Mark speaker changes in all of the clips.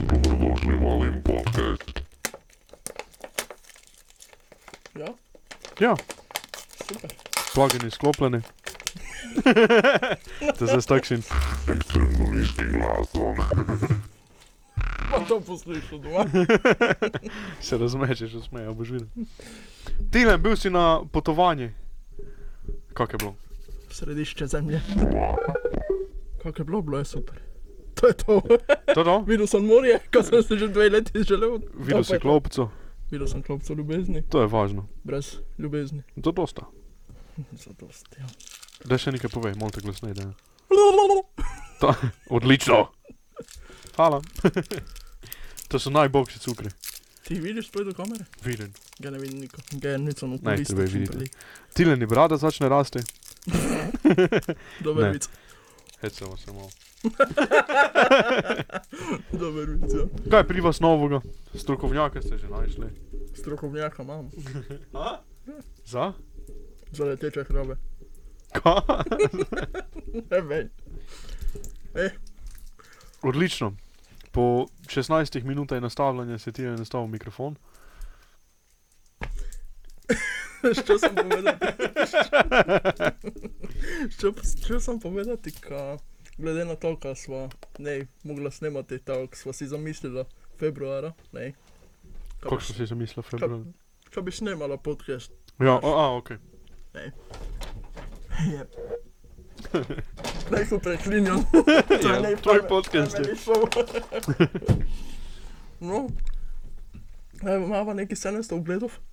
Speaker 1: Чорний Малим Подкаст.
Speaker 2: Ja,
Speaker 3: Ja,
Speaker 2: super.
Speaker 3: plugin je sklopljen. Te zdaj stakšen.
Speaker 1: Ekstremno nizki glas, on.
Speaker 2: Pa to poslušal doma.
Speaker 3: Se razmečeš, usmeja, boš videl. Tilen, bil si na potovanju. Kako je bilo?
Speaker 2: Središče zemlje. Kako je bilo, bilo je super. To je to.
Speaker 3: To to?
Speaker 2: Videl sem morje, kar sem si že dve leti želel.
Speaker 3: Videl
Speaker 2: Ja, To pa
Speaker 3: si
Speaker 2: je to.
Speaker 3: klopco,
Speaker 2: Videl sem klopco ljubezni,
Speaker 3: to je važno.
Speaker 2: brez ljubezni.
Speaker 3: To dosta.
Speaker 2: Zadost, ja.
Speaker 3: Da še nekaj povej, malo te glasneje. da- To- Odlično! Hvala. To so najboljši cukri.
Speaker 2: Ti vidiš sploh do kamere?
Speaker 3: Vidim.
Speaker 2: Ga ne vidim niko. Ga je nico na
Speaker 3: Ne,
Speaker 2: kulisu.
Speaker 3: tebe vidite. Tilen je brada začne rasti.
Speaker 2: Dober
Speaker 3: Ne.
Speaker 2: vic.
Speaker 3: Hecemo se malo.
Speaker 2: Dober vic, ja.
Speaker 3: Kaj je pri vas novega? Strokovnjake ste že našli.
Speaker 2: Strokovnjaka imam.
Speaker 3: Za?
Speaker 2: Za leteče hrabe.
Speaker 3: Ka?
Speaker 2: Ne vem.
Speaker 3: Odlično. Po 16 minutah nastavljanja se ti je nastavil mikrofon.
Speaker 2: Що сам povedati? Що, що сам povedati, ka, glede na to, ka sva ne mogla snemati tako, kak sva si zamislila februara, ne. Ka
Speaker 3: Kako
Speaker 2: bi,
Speaker 3: si zamislil, februar?
Speaker 2: ka bi snemala podcast.
Speaker 3: Ja, a, a, ok.
Speaker 2: Naj ko preklinjam.
Speaker 3: Ja,
Speaker 2: nej,
Speaker 3: tvoj
Speaker 2: pa-
Speaker 3: podcast ja.
Speaker 2: pa
Speaker 3: je.
Speaker 2: meni šlo. No. Evo, imamo neki 700 ogledov.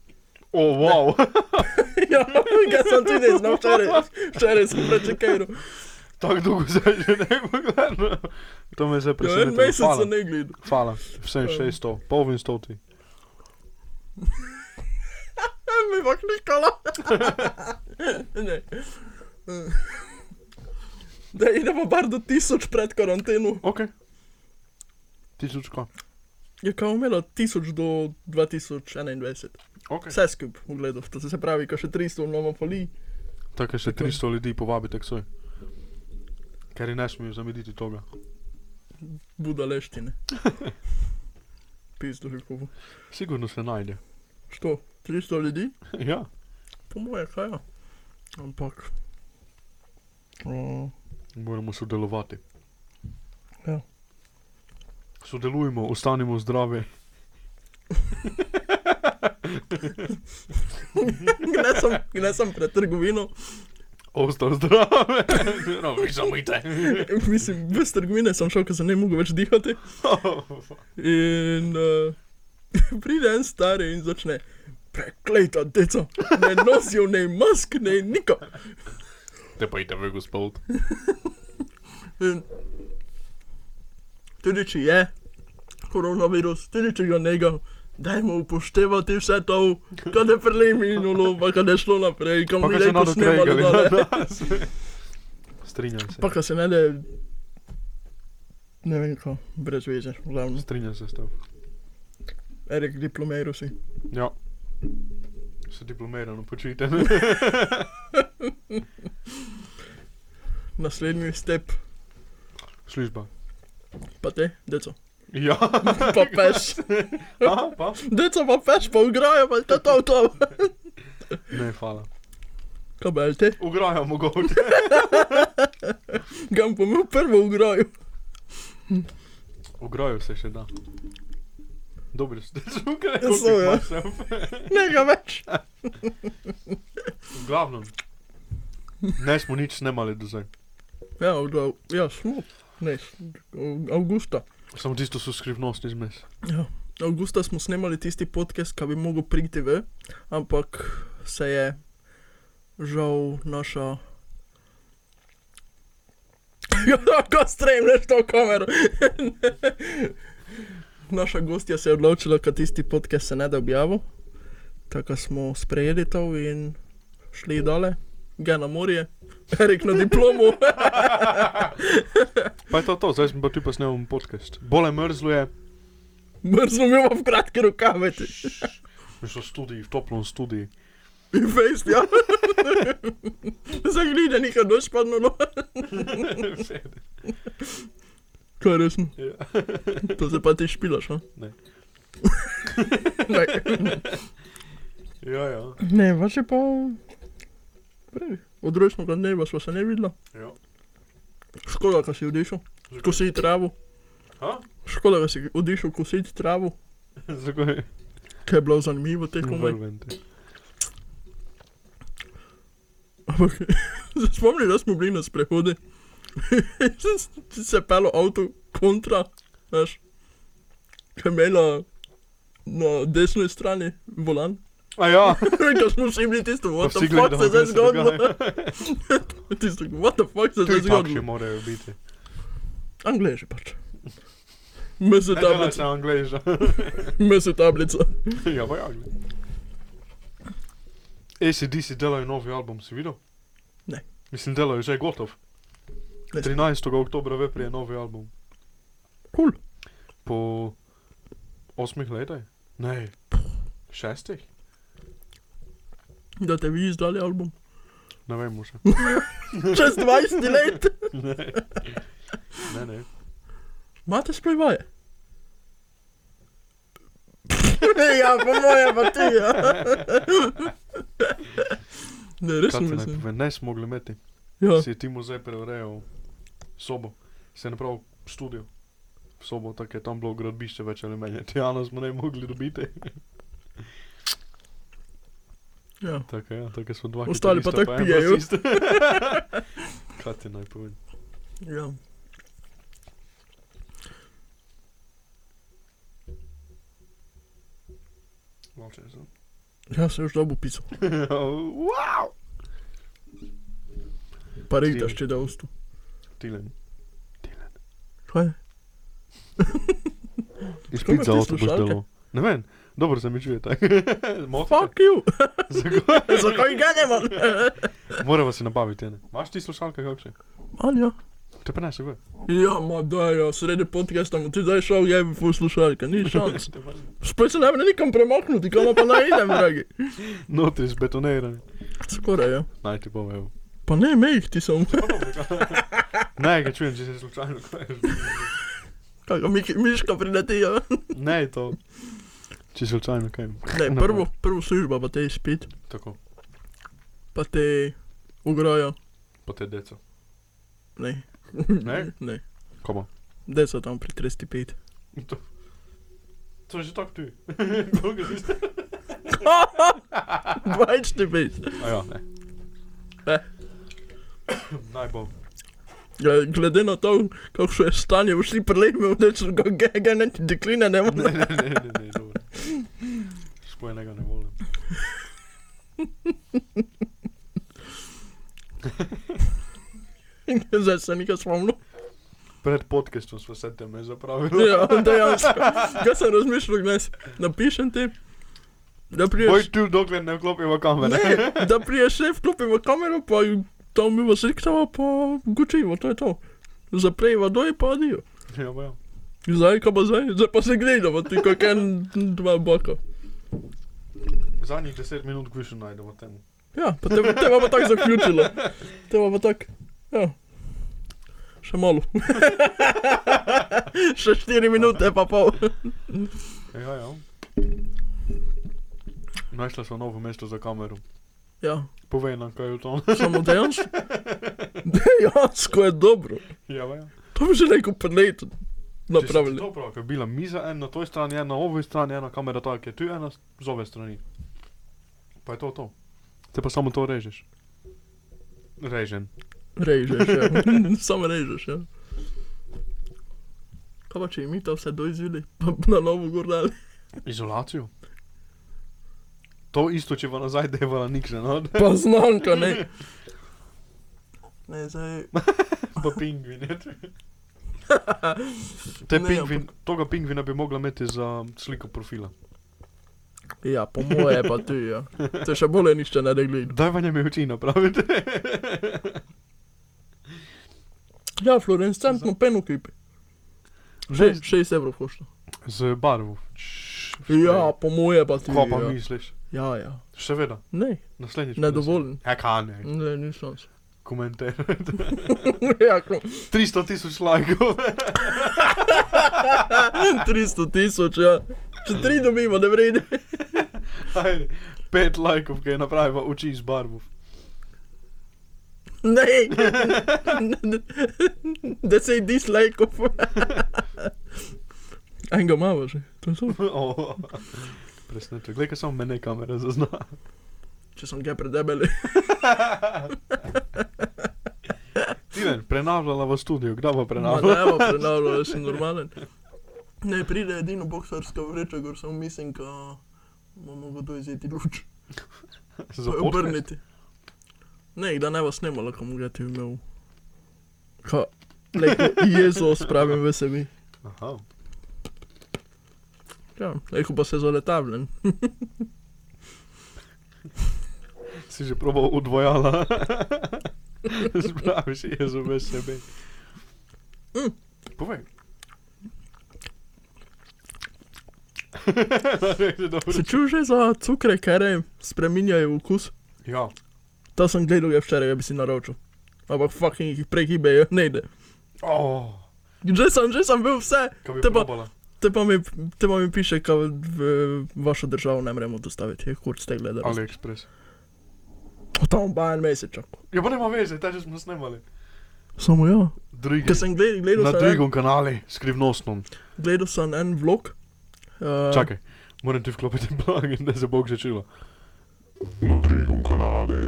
Speaker 3: O, oh, wow,
Speaker 2: Ja, ga sem tudi znal včeraj. Včeraj sem prečekal.
Speaker 3: tako dolgo zdaj že ne gledam. To me zdaj
Speaker 2: Ja, en
Speaker 3: preseneča.
Speaker 2: mesec
Speaker 3: Hvala,
Speaker 2: sem ne gledal.
Speaker 3: hvala. Vsem 600, pol in 100 ti.
Speaker 2: Ne, mi pa klikala. ne. Da idemo bar do tisoč pred karanteno.
Speaker 3: Ok. Tisočka.
Speaker 2: Je kao imela tisoč do 2021.
Speaker 3: Ok.
Speaker 2: Vse skup, ugledov. To se pravi, ko še 300 imamo poli.
Speaker 3: Tako je še 300 ljudi povabi taksoj. Ker je ne smejo zamediti toga.
Speaker 2: Buda leštine. Pizdo že kovo.
Speaker 3: Sigurno se najde.
Speaker 2: Što? 300 ljudi?
Speaker 3: Ja.
Speaker 2: Po moje, kaj ja. Ampak. Uh,
Speaker 3: Moramo sodelovati.
Speaker 2: Ja.
Speaker 3: Sodelujmo, ostanimo zdravi.
Speaker 2: ne, sem, ne sem pred trgovino.
Speaker 3: Ostal zdravi. no, vi zamite.
Speaker 2: Mislim, brez trgovine sem šel, ker sem ne mogel več dihati. In uh, pride en star in začne, preklejta, deco, ne nosijo ne mask, ne niko.
Speaker 3: Te pa idete v gospod.
Speaker 2: Ja, In tudi če je koronavirus, tudi če ga ne ga, dajmo upoštevati vse to, kar je prej minulo, pa kar je šlo naprej, kam
Speaker 3: Pa
Speaker 2: mi
Speaker 3: kaj se
Speaker 2: lepo
Speaker 3: nado
Speaker 2: snemali.
Speaker 3: kregali
Speaker 2: dale.
Speaker 3: na nas. Strinjam se.
Speaker 2: Pa kar se ne le, ne vem kako, brez veze, glavno.
Speaker 3: Strinjam se s tem.
Speaker 2: Erik diplomiral si.
Speaker 3: Ja. Se diplomirano počite.
Speaker 2: Naslednji step,
Speaker 3: Služba.
Speaker 2: pa te, deco,
Speaker 3: Ja.
Speaker 2: pa peš.
Speaker 3: Aha, pa.
Speaker 2: Deca pa peš, pa igrajo, pa to, to, to.
Speaker 3: Ne, hvala.
Speaker 2: Kaj bel te?
Speaker 3: Ugrajo mogoče.
Speaker 2: Gam pa mi prvo igrajo.
Speaker 3: Ugrajo se še da. Dobro, ste zukaj.
Speaker 2: So, ja. Ne ga več.
Speaker 3: V glavnem. Ne smo nič snemali do zdaj.
Speaker 2: Ja, od, av- ja smo. Ne, s- av- avgusta.
Speaker 3: Samo tisto so skrivnostni zmes.
Speaker 2: Ja. Avgusta smo snemali tisti podcast, ki bi mogel priti v, ampak se je žal naša... Ja, Ko stremlješ to kamero. naša gostja se je odločila, da tisti podcast se ne da objavil. Tako da smo sprejeli to in šli dole, ga na morje, Erik na diplomo.
Speaker 3: Pa je to to, zdaj smo pa tu pa snemamo podcast. Bole mrzlo je,
Speaker 2: Mrzlo mi imamo v kratke rokave. ti.
Speaker 3: mi smo v studiji, v toplom studiji.
Speaker 2: In fejst, ja. Zaglida, nekaj noč padlo. No. Kaj je resno?
Speaker 3: Ja.
Speaker 2: To se pa ti špilaš, a?
Speaker 3: Ne.
Speaker 2: ne.
Speaker 3: Ja, ja.
Speaker 2: Ne, vas je pa... Prej, od rojstnega dneva sva se ne videla.
Speaker 3: ja.
Speaker 2: Škoda, ka si odišel. Kositi travo.
Speaker 3: Ha?
Speaker 2: Škoda, da si odišel kositi travo.
Speaker 3: Zakaj?
Speaker 2: Kaj je bilo zanimivo tekom vojne.
Speaker 3: Vrvente.
Speaker 2: Ampak se spomnim, da smo bili na sprehodi. Sem se pelo avto kontra, veš, kaj je imela na desni strani volan.
Speaker 3: A ja.
Speaker 2: Ko smo vsi bili tisto, what
Speaker 3: Vsi
Speaker 2: the fuck
Speaker 3: gledamo,
Speaker 2: se zdaj
Speaker 3: kaj se
Speaker 2: zgodilo.
Speaker 3: dogaja.
Speaker 2: tisto, what the fuck se zdaj
Speaker 3: Tudi takšni
Speaker 2: zgodilo.
Speaker 3: morajo biti.
Speaker 2: Angleži pač. Mese
Speaker 3: Ne, da se
Speaker 2: tablica,
Speaker 3: angleža.
Speaker 2: mese tablica.
Speaker 3: ja, pa ja, gled. ACDC delajo novi album, si videl?
Speaker 2: Ne.
Speaker 3: Mislim, delajo že gotov.
Speaker 2: Ne.
Speaker 3: 13. oktobra vepri je novi album.
Speaker 2: Kul.
Speaker 3: Po osmih letih? Ne. Šestih?
Speaker 2: Da te vi izdali album.
Speaker 3: Ne vem še.
Speaker 2: Čez 20 let.
Speaker 3: Ne, ne.
Speaker 2: Imate sprevaje? ja, po moje pa ti. Ja. ne, res
Speaker 3: Kaj
Speaker 2: ne
Speaker 3: ti naj
Speaker 2: mislim.
Speaker 3: povem? Ne smo mogli imeti.
Speaker 2: Ja.
Speaker 3: Si je Timo zdaj preurejal sobo. Se ne pravi er studio. Sobo, tako je tam bilo gradbišče več ali manj. Tijano smo ne mogli dobiti.
Speaker 2: ja.
Speaker 3: Tako ja, tako so dva.
Speaker 2: Ostali pa
Speaker 3: kitarista,
Speaker 2: tako
Speaker 3: en
Speaker 2: pijejo.
Speaker 3: basist. Kaj ti naj povem?
Speaker 2: ja.
Speaker 3: Noče se.
Speaker 2: Ja, se už dobu pisal.
Speaker 3: wow!
Speaker 2: Pa rejtaš, če da ustu.
Speaker 3: Tilen.
Speaker 2: Kaj? je? Zakaj
Speaker 3: Izpit
Speaker 2: imaš te
Speaker 3: za avto boš
Speaker 2: slušalke?
Speaker 3: delo. Ne vem, dobro se mi čuje tako. Mofa?
Speaker 2: Fuck you!
Speaker 3: Zakaj?
Speaker 2: Zakaj ga ne imam?
Speaker 3: Moramo si nabaviti ene. Imaš ti slušalke kakšne?
Speaker 2: Anja.
Speaker 3: Te prenesi gor.
Speaker 2: Ja, ma da, ja, sredi podcasta mu ti zdaj šel, je bi poslušalka, ni šans. Spet se ne bi nikam premaknuti, kam pa naj idem, dragi.
Speaker 3: Notri zbetonirani.
Speaker 2: Skoraj, ja.
Speaker 3: Naj ti povem. evo.
Speaker 2: Pa ne, mejh ti sem.
Speaker 3: Ne, ga čujem, če se slučajno kvareš.
Speaker 2: Kaj, ga Miki- miška prileti, ja.
Speaker 3: Ne, je to. Če slučajno kaj.
Speaker 2: Ne,
Speaker 3: Ne.
Speaker 2: prvo, prvo služba pa te izpit,
Speaker 3: Tako,
Speaker 2: pa te ograja.
Speaker 3: po te deco.
Speaker 2: Ne.
Speaker 3: Ne?
Speaker 2: ne.
Speaker 3: Koma.
Speaker 2: Deca tam pri 35.
Speaker 3: To, to je že tako tu. Koga si ste?
Speaker 2: 25.
Speaker 3: A ja, ne.
Speaker 2: Ne.
Speaker 3: Naj bo.
Speaker 2: Ja, glede na to, kakšno je stanje, boš ti prelepil, da so ga gege, ne ti dekline, ne
Speaker 3: Ne,
Speaker 2: moreš.
Speaker 3: ne, ne, ne, ne, dobro. Spojenega ne volim.
Speaker 2: Zdaj se nekaj spomnil.
Speaker 3: Pred podcastom smo se teme zapravili.
Speaker 2: Ja, dejansko. Kaj sem razmišljal, gnes, napišem ti, da priješ.
Speaker 3: Boj tu, dokler ne vklopimo kamere.
Speaker 2: Ne, da priješ ne vklopimo kamero, pa tam mi vas riktava, pa gučivo, to je to. Zaprejva doj, pa adijo.
Speaker 3: Ja, pa ja.
Speaker 2: Zdaj, kaj pa zdaj? Zdaj pa se gledamo, ti kot en, dva boka.
Speaker 3: Zadnjih deset minut kvišu najdemo temu.
Speaker 2: Ja, pa te, te bomo tako zaključili. Te bomo tako, ja. Še malo. Še štiri minute, pa pol.
Speaker 3: Ja, ja. Našla smo novo mesto za kamero.
Speaker 2: Ja,
Speaker 3: Povej nam, kaj je to.
Speaker 2: samo dejansko. Dejansko je dobro.
Speaker 3: ja, pa ja.
Speaker 2: To bi že rekel, pa ne, napravili.
Speaker 3: Dobro, ker je bila miza ena na toj strani, ena na ovoj strani, ena kamera tak je tu, ena s- z ove strani. Pa je to to. Te pa samo to režeš. Režen.
Speaker 2: Režeš, ja. samo režeš, ja. Kaj pa če bi mi to vse doizvili, pa bi na novo gordali.
Speaker 3: Izolacijo. To isto, če bo nazaj devala nikže, no?
Speaker 2: Pa znam, kaj ne. Ne, zdaj.
Speaker 3: pa pingvin, je tu. Te
Speaker 2: Ne,
Speaker 3: pingvin, toga pingvina bi mogla imeti za sliko profila.
Speaker 2: Ja, po moje pa ti, ja. Te še bolje nišče ne degli.
Speaker 3: Daj vanjem je oči napraviti.
Speaker 2: Ja, fluorescentno peno kipi.
Speaker 3: Že
Speaker 2: 6 evrov košta.
Speaker 3: z barvo.
Speaker 2: Ja, po moje pa ti.
Speaker 3: Kaj pa
Speaker 2: ja.
Speaker 3: misliš?
Speaker 2: ja, ja.
Speaker 3: Seveda,
Speaker 2: Ne,
Speaker 3: naslednjič.
Speaker 2: ne dovolim.
Speaker 3: Ja, kaj ne.
Speaker 2: Ne, nisem.
Speaker 3: komentirajte.
Speaker 2: ja, ko-
Speaker 3: 300 tisoč lajkov.
Speaker 2: 300 tisoč, ja. Če tri dobimo, ne vrede.
Speaker 3: Ajde, pet lajkov, ki je napravil oči iz barvov.
Speaker 2: Ne, da se je dislajkov. Enega imamo že, to je to.
Speaker 3: Oh, Presnetek, glej, kaj samo mene kamera zazna.
Speaker 2: Če sem ga predebel.
Speaker 3: Steven, prenavljala v studiu, kdo bo prenavljala?
Speaker 2: Ne, prenavljal, jaz sem normalen. Ne, pride edino boksarska vreča, gor samo mislim, ko bomo kdo izjeti luč.
Speaker 3: Za podcast?
Speaker 2: Obrniti. Ne, da ne bo snimalo, ko mu ga ti imel. Ka, lepo, jezo spravim v sebi.
Speaker 3: Aha.
Speaker 2: Ja, lepo pa se zaletavljam.
Speaker 3: Si že probal udvojala. Spraviš jezo v sebe.
Speaker 2: Mm.
Speaker 3: Povej. Naredite dobro.
Speaker 2: Se čuš že za cukre, ker spreminjajo okus?
Speaker 3: Ja,
Speaker 2: To sem gledal je včeraj, da bi si naročil. Ampak fucking jih pregibejo, ne ide.
Speaker 3: oh,
Speaker 2: Že sem, že sem bil vse,
Speaker 3: kaj bi
Speaker 2: Te pa-
Speaker 3: probala.
Speaker 2: te pa mi, te pa mi piše, da v vašo državo ne moremo dostaviti, je kurc te gledal.
Speaker 3: AliExpress.
Speaker 2: Tam pa en mesec. čakal.
Speaker 3: Ja, pa nema veze, ta že smo snemali.
Speaker 2: Samo ja.
Speaker 3: Drugi.
Speaker 2: Ker sem gledal,
Speaker 3: Na
Speaker 2: gledal sem,
Speaker 3: drugem kanalu, skrivnostno.
Speaker 2: en, gledal sem en vlog. Uh,
Speaker 3: Čakaj, moram ti vklopiti plugin, da se bo začelo.
Speaker 1: na drugem kanale.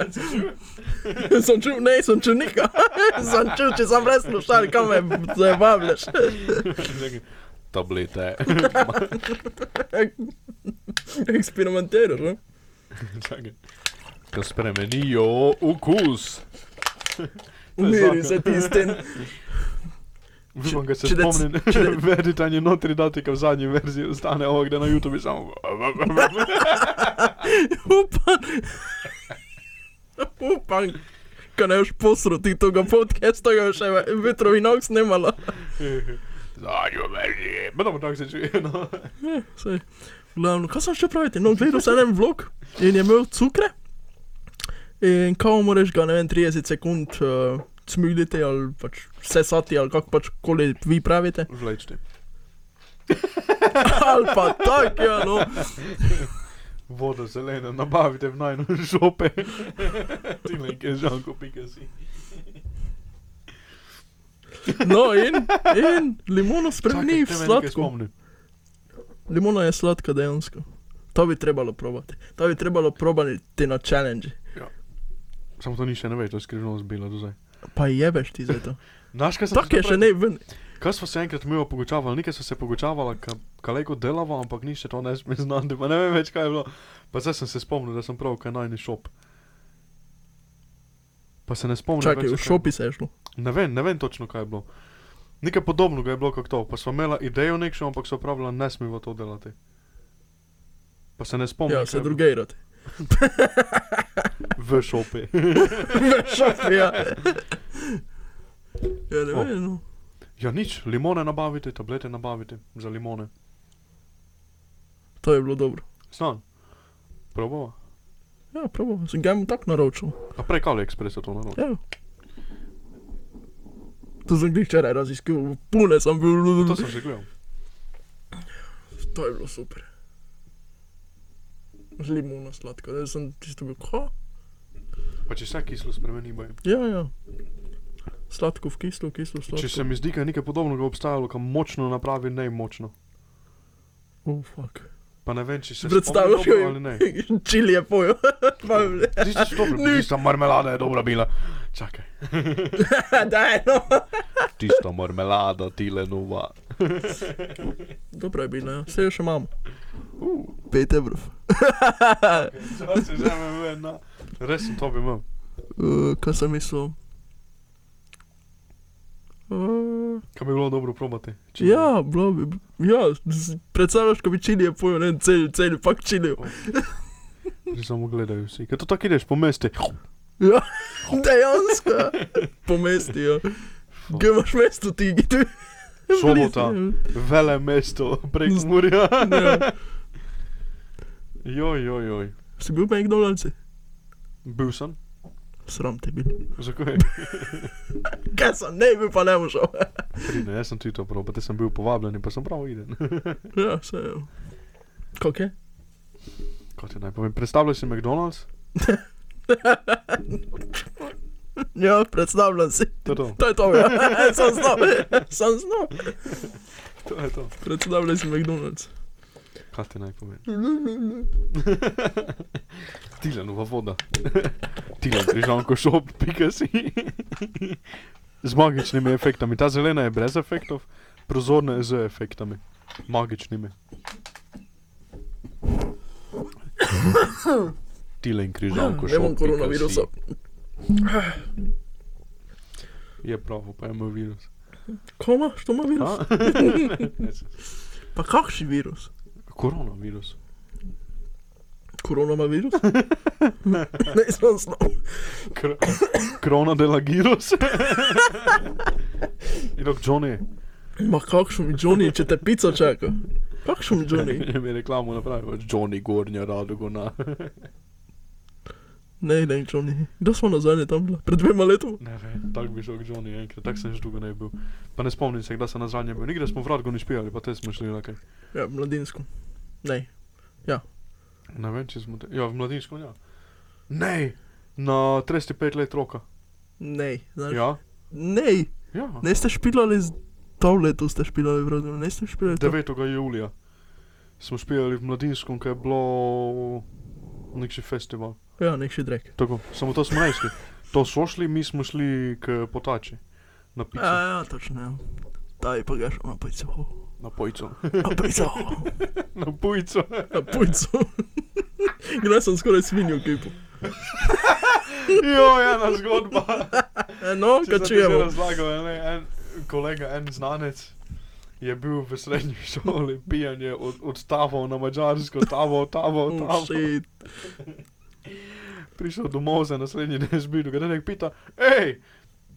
Speaker 2: Eh, sem čutil, ne, sem čutil nika. sem čutil, če sem brez slušal, kam me zabavljaš.
Speaker 3: Čakaj. Tablete.
Speaker 2: Eksperimentiraš, ne?
Speaker 3: Čakaj. Ko spremenijo okus. To je
Speaker 2: Umiri
Speaker 3: zakon.
Speaker 2: se ti s tem.
Speaker 3: Vem, ga se
Speaker 2: če da-
Speaker 3: spomnim, veritanje notri dati, kaj v zadnji verziji ostane ovo, gde na YouTube samo.
Speaker 2: Upam. Upam. Ko ne boš posroti tega podcasta, ga še vetrovi nog snemala.
Speaker 3: Zadnjo verziji. Ma dobro, tako se čuje. No.
Speaker 2: Ne, Eh, saj. Glavno, kaj sem še praviti? No, gledal sem en vlog in je imel cukre. In kao moraš ga, ne vem, 30 sekund uh, smiliti ali pač sesati ali kako pač koli vi pravite.
Speaker 3: Vlečni.
Speaker 2: ali pa tako, ja, no.
Speaker 3: Vodo zeleno nabavite v najnu šope. Ti link je žanko pika si.
Speaker 2: No in, in limono spremeni v
Speaker 3: Čakaj, te meni kaj
Speaker 2: sladko.
Speaker 3: spomnim.
Speaker 2: Limona je sladka dejansko. To bi trebalo probati. To bi trebalo probati na challenge.
Speaker 3: Samo to ni še ne veš, to je skrivnost bila do zdaj.
Speaker 2: Pa jebeš ti za to.
Speaker 3: Znaš, kaj sem
Speaker 2: Tako je še ne ven.
Speaker 3: Kaj smo se enkrat mi opogočavali, nekaj smo se pogočavali, kaleko delava, ampak ni še to ne sme znati, pa ne vem več kaj je bilo. Pa zdaj sem se spomnil, da sem prav kaj najni šop. Pa se ne spomnim.
Speaker 2: Čakaj, v
Speaker 3: več, zakaj.
Speaker 2: šopi se je šlo.
Speaker 3: Ne vem, ne vem točno kaj je bilo. Nekaj podobnega je bilo kot to, pa smo imela idejo nekšno, ampak so pravila, ne smemo to delati. Pa se ne spomnim.
Speaker 2: Ja,
Speaker 3: kaj
Speaker 2: se
Speaker 3: je bilo.
Speaker 2: druge irate.
Speaker 3: V šopi.
Speaker 2: šopi, ja. Ja, ne
Speaker 3: O.
Speaker 2: vem, no.
Speaker 3: Ja, nič, limone nabavite, tablete nabavite za limone.
Speaker 2: To je bilo dobro.
Speaker 3: Snan. Probava.
Speaker 2: Ja, pravo, sem ga tako naročil.
Speaker 3: A prej kali ekspres to naročil.
Speaker 2: Ja. To sem jih včeraj raziskal, pune sem bil.
Speaker 3: To sem že gledal.
Speaker 2: To je bilo super. Z limono sladko, da sem tisto bil, ko?
Speaker 3: Pa če se kislo spremeni, boj.
Speaker 2: Ja, ja. Sladko v kislo, kislo v sladko.
Speaker 3: Če se mi zdi, da je nekaj podobnega obstajalo, kam močno napravi nemočno.
Speaker 2: Oh, fuck.
Speaker 3: Pa ne vem, če se
Speaker 2: Predstavljaš
Speaker 3: spomnim dobro ali ne.
Speaker 2: jo? Čili je pojo. Pa je-
Speaker 3: Tisti so dobro,
Speaker 2: Ni.
Speaker 3: tista marmelada je dobra bila. Čakaj,
Speaker 2: Daj, no.
Speaker 3: tista marmelada Tilenova.
Speaker 2: Dobro je bilo, ja. vse jo še imamo.
Speaker 3: Uh.
Speaker 2: Pet evrov.
Speaker 3: Zdaj se zame ven, na. Res sem to bi imel.
Speaker 2: Uh, kaj sem mislil? Uh,
Speaker 3: Kaj bi bilo dobro probati? Če-
Speaker 2: ja, bilo bi. Ja, z- predstavljaš, ko bi čili je pojo, ne cel, cel, pak čili.
Speaker 3: Že samo gledajo vsi. Ker to tako ideš po mesti.
Speaker 2: Ja, dejansko. Pomestijo. Kaj imaš mesto ti, ki ja. ti?
Speaker 3: Sobota. Vele mesto, prek Murja.
Speaker 2: Ja.
Speaker 3: Joj, joj, joj.
Speaker 2: Si bil v McDonald'su?
Speaker 3: Bil sem.
Speaker 2: sram te bil.
Speaker 3: Zakaj?
Speaker 2: Kaj sem, ne bi pa ne bo šel.
Speaker 3: Pri ne, jaz sem ti to prav, pa te sem bil povabljen in pa sem prav iden.
Speaker 2: ja, se je. Kako je?
Speaker 3: Kot je naj povem, predstavljaj si McDonald's,
Speaker 2: Ja, predstavljam si.
Speaker 3: to je to.
Speaker 2: To je to, ja. sem znal. Sem znal.
Speaker 3: To je to.
Speaker 2: Predstavljaj si McDonald's.
Speaker 3: Kaj ti naj povem?
Speaker 2: Ja,
Speaker 3: Tilanova voda. Tilan križanko šop, pika si. Z magičnimi efektami. Ta zelena je brez efektov, prozorna je z efektami. Magičnimi. Tilan križanko šop.
Speaker 2: Ne bom koronavirusa.
Speaker 3: Je prav, pa ima virus.
Speaker 2: Koma, što ima virus?
Speaker 3: A? Ne, se-
Speaker 2: Pa kakšen virus?
Speaker 3: Koronavirus.
Speaker 2: Koronavirus? ne, sem znal.
Speaker 3: Kr krona de la Giros. Irok Johnny,
Speaker 2: Ma kakšen mi Johnny, če te pico čaka. Kakšen mi Johnny?
Speaker 3: ne mi reklamo napravimo, Johnny Gornja Radogona.
Speaker 2: Ne, ne, Johnny. Kdo smo nazadnje tam bila? Pred dvema letoma?
Speaker 3: Ne vem, tako bi šel k Johnny enkrat, tako sem že dolgo ne bil. Pa ne spomnim se, kdaj sem nazadnje bil. Nikdaj smo v Radgonu ispijali, pa te smo šli na kaj.
Speaker 2: Ja, mladinsko. Ne.
Speaker 3: Ne vem, če smo te... Ja, v mladinsko, ja. Ne, na 35 let roka.
Speaker 2: Ne, znaš.
Speaker 3: Ja,
Speaker 2: Ne,
Speaker 3: ja.
Speaker 2: ne ste špilali z... To leto ste špilali v rodu, ne ste špilali to.
Speaker 3: 9. julija smo špijali v mladinskom, ko je bilo nek še festival.
Speaker 2: Ja, nek še drek.
Speaker 3: Tako, samo to smo ne šli. To so šli, mi smo šli k potači. Na pico.
Speaker 2: Ja, ja, točno, ja. Daj, pa gaš, na pojco.
Speaker 3: Na pojco.
Speaker 2: Na pojco.
Speaker 3: na pojco.
Speaker 2: Na pojco. Gre sem skoraj svinjo kipu.
Speaker 3: jo, ena zgodba.
Speaker 2: No,
Speaker 3: Če sem
Speaker 2: kaj
Speaker 3: ti že
Speaker 2: čujemo.
Speaker 3: Razlagal, en, en kolega, en znanec. Je bil v srednji šoli pijan, je od, odtaval na mačarsko, tavo, tavo,
Speaker 2: Oh,
Speaker 3: tavo.
Speaker 2: shit.
Speaker 3: Prišel domov za naslednji dan zbiru, ga nek pita, hej,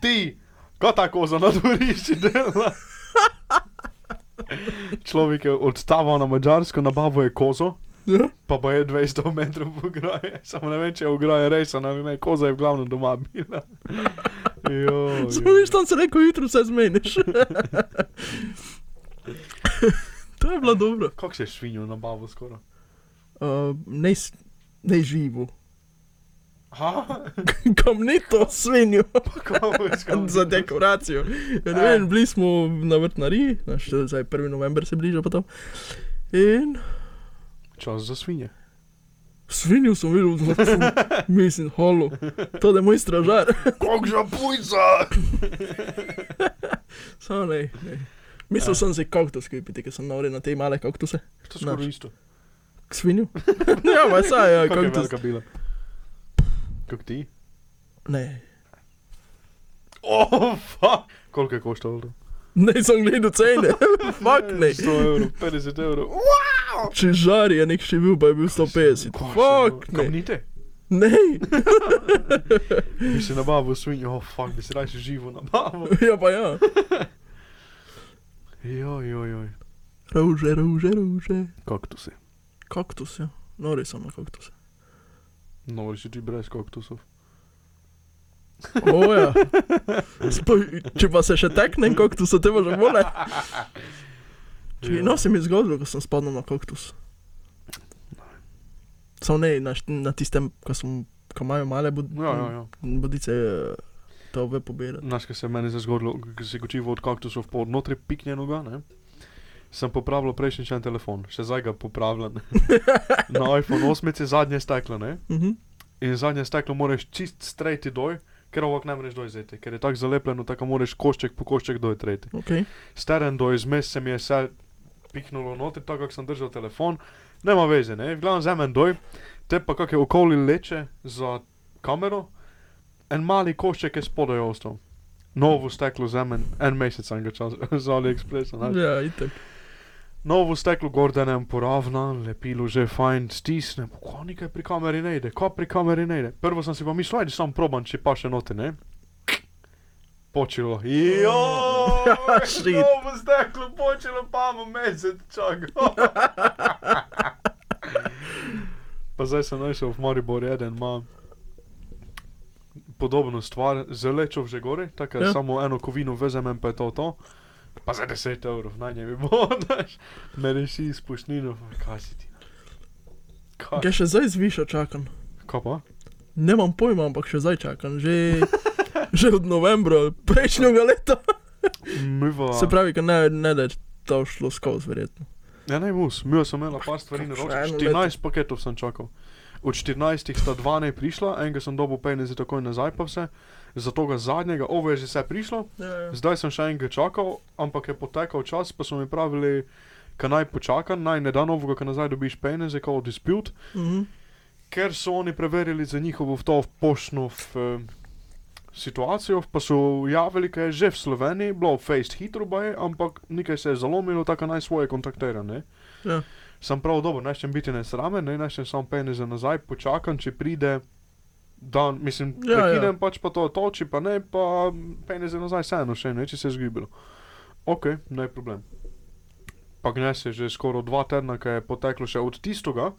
Speaker 3: ti, ko tako za nadvorišči dela. Človek je odtaval na mačarsko, nabavo je kozo,
Speaker 2: Ja.
Speaker 3: Pa pa je 200 metrov v graje, samo ne vem, če je v graje resa, ne vem, koza je v glavnem doma bila. Jo,
Speaker 2: Samo nič tam se reko, jutro se zmeniš. to je bilo dobro.
Speaker 3: Kako se je švinjo nabavo skoraj?
Speaker 2: Uh, ne, s- ne živo.
Speaker 3: Ha,
Speaker 2: Kam ni to svinjo?
Speaker 3: kako je skoraj?
Speaker 2: Za dekoracijo. Ja, ne vem, bili smo na vrtnariji, naš, zdaj 1. november se bliža pa tam. In
Speaker 3: Čas za svinje.
Speaker 2: svinjo sem videl, da sem mislim, holo. To je moj stražar.
Speaker 3: Kok že pujca!
Speaker 2: Samo ne, ne. Mislil
Speaker 3: Ja.
Speaker 2: sem si kaktus kupiti, ker sem navren na te male kaktuse.
Speaker 3: To je skoraj
Speaker 2: Naš.
Speaker 3: isto.
Speaker 2: K svinju? ja, pa saj, ja,
Speaker 3: Kako je
Speaker 2: kaktus.
Speaker 3: velika bila? Kako ti?
Speaker 2: Ne,
Speaker 3: Oh, fuck! Koliko je koštalo to?
Speaker 2: Ne, sem gledal cene, fuck ne.
Speaker 3: 100 evrov, 50 evrov. Ua!
Speaker 2: Če žar je nek še bil, pa je bil 150.
Speaker 3: Kako se-
Speaker 2: Fuck ne.
Speaker 3: no. Kamnite?
Speaker 2: Ne,
Speaker 3: Bi si nabavo svinjo, oh, fuck, bi si raje živo nabavo.
Speaker 2: ja pa ja.
Speaker 3: Joj, joj, joj.
Speaker 2: Ruže, ruže, ruže.
Speaker 3: Kaktusi.
Speaker 2: Kaktus, ja. Nori sem na kaktus.
Speaker 3: No, si ti brez kaktusov.
Speaker 2: Oja. Spoj, ja. če pa se še teknem kaktus, te bo že bole.
Speaker 3: Ja.
Speaker 2: Če no se mi je zgodilo, ko sem spadnil na kaktus. Samo ne, na, št- na tistem, ko, sem, ko imajo male bod,
Speaker 3: Ja, ja,
Speaker 2: Mm.
Speaker 3: ja.
Speaker 2: bodice, eh, to ve pobirati.
Speaker 3: Znaš, kaj se je meni zdaj zgodilo, ko si kočivo od kaktusov po notri pikne noga, ne? Sem popravljal prejšnjič en telefon, še zdaj ga popravljam. Na iPhone 8 je zadnje steklo, ne?
Speaker 2: Mhm.
Speaker 3: In zadnje steklo moraš čist strejti doj, ker ovak ne moreš doj zeti, ker je tako zalepljeno, tako moraš košček po košček doj treti.
Speaker 2: Okay.
Speaker 3: Steren doj zmes se mi je vse piknulo notri, tako kako sem držal telefon, nema veze, ne? V glavnem zemem doj, te pa kakšne okoli leče za kamero, en mali košček je spodaj ostal. Novo steklo zemen, en mesec sem ga časa za AliExpress. Ne?
Speaker 2: Ja, itek.
Speaker 3: Novo steklo gordenem poravna, lepilo že fajn, stisne, ko nekaj pri kameri ne ide, ko pri kameri ne ide. Prvo sem si pa mislil, ajde sam proban, če pa še note, ne? Počilo. Jo!
Speaker 2: Shit.
Speaker 3: Novo steklo počilo, pa mu mesec čakal. pa zdaj sem našel v Mariboru, eden ima. podobno stvar z lečo v žegori, tako
Speaker 2: Ja.
Speaker 3: ja. samo eno kovino vezemem pa je to to. Pa za 10 evrov na njej bo, daš, me reši izpušnino, kaj si ti. no? Kaj,
Speaker 2: Kaj še zdaj zviša čakam?
Speaker 3: kaj pa?
Speaker 2: Nemam pojma, ampak še zdaj čakam. Že, že od novembra prejšnjega leta.
Speaker 3: Miva.
Speaker 2: Se pravi, ker ne, ne da je to šlo skozi, verjetno.
Speaker 3: Ja, ne mus, mi smo imeli par stvari na
Speaker 2: Še
Speaker 3: roki.
Speaker 2: eno
Speaker 3: 14 paketov sem čakal. Od 14 sta 12 prišla, enega sem dobil penez in takoj nazaj pa vse. Za tega zadnjega, ovo je že vse prišlo, zdaj sem še enega čakal, ampak je potekal čas, pa so mi pravili, da naj počakam, naj ne da novega, ker nazaj dobiš peneze, kot dispute,
Speaker 2: Mhm.
Speaker 3: ker so oni preverili za njihovo v to poštno eh, situacijo, pa so javili, da je že v Sloveniji, bilo fejst hitro, baje, ampak nekaj se je zalomilo, tako naj svoje kontaktira. Ne?
Speaker 2: Ja.
Speaker 3: sem prav dober, nečem biti nesramen, ne nečem samo peneze nazaj, počakam, če pride. Dan, mislim,
Speaker 2: Ja, ja.
Speaker 3: ja, prekinem ja. pač pa to toči, pa ne, pa peneze nazaj, vseeno še ne, če se je zgibilo. Ok, ne problem. Pa gnes je že skoraj dva tedna, ki je poteklo še od tistega,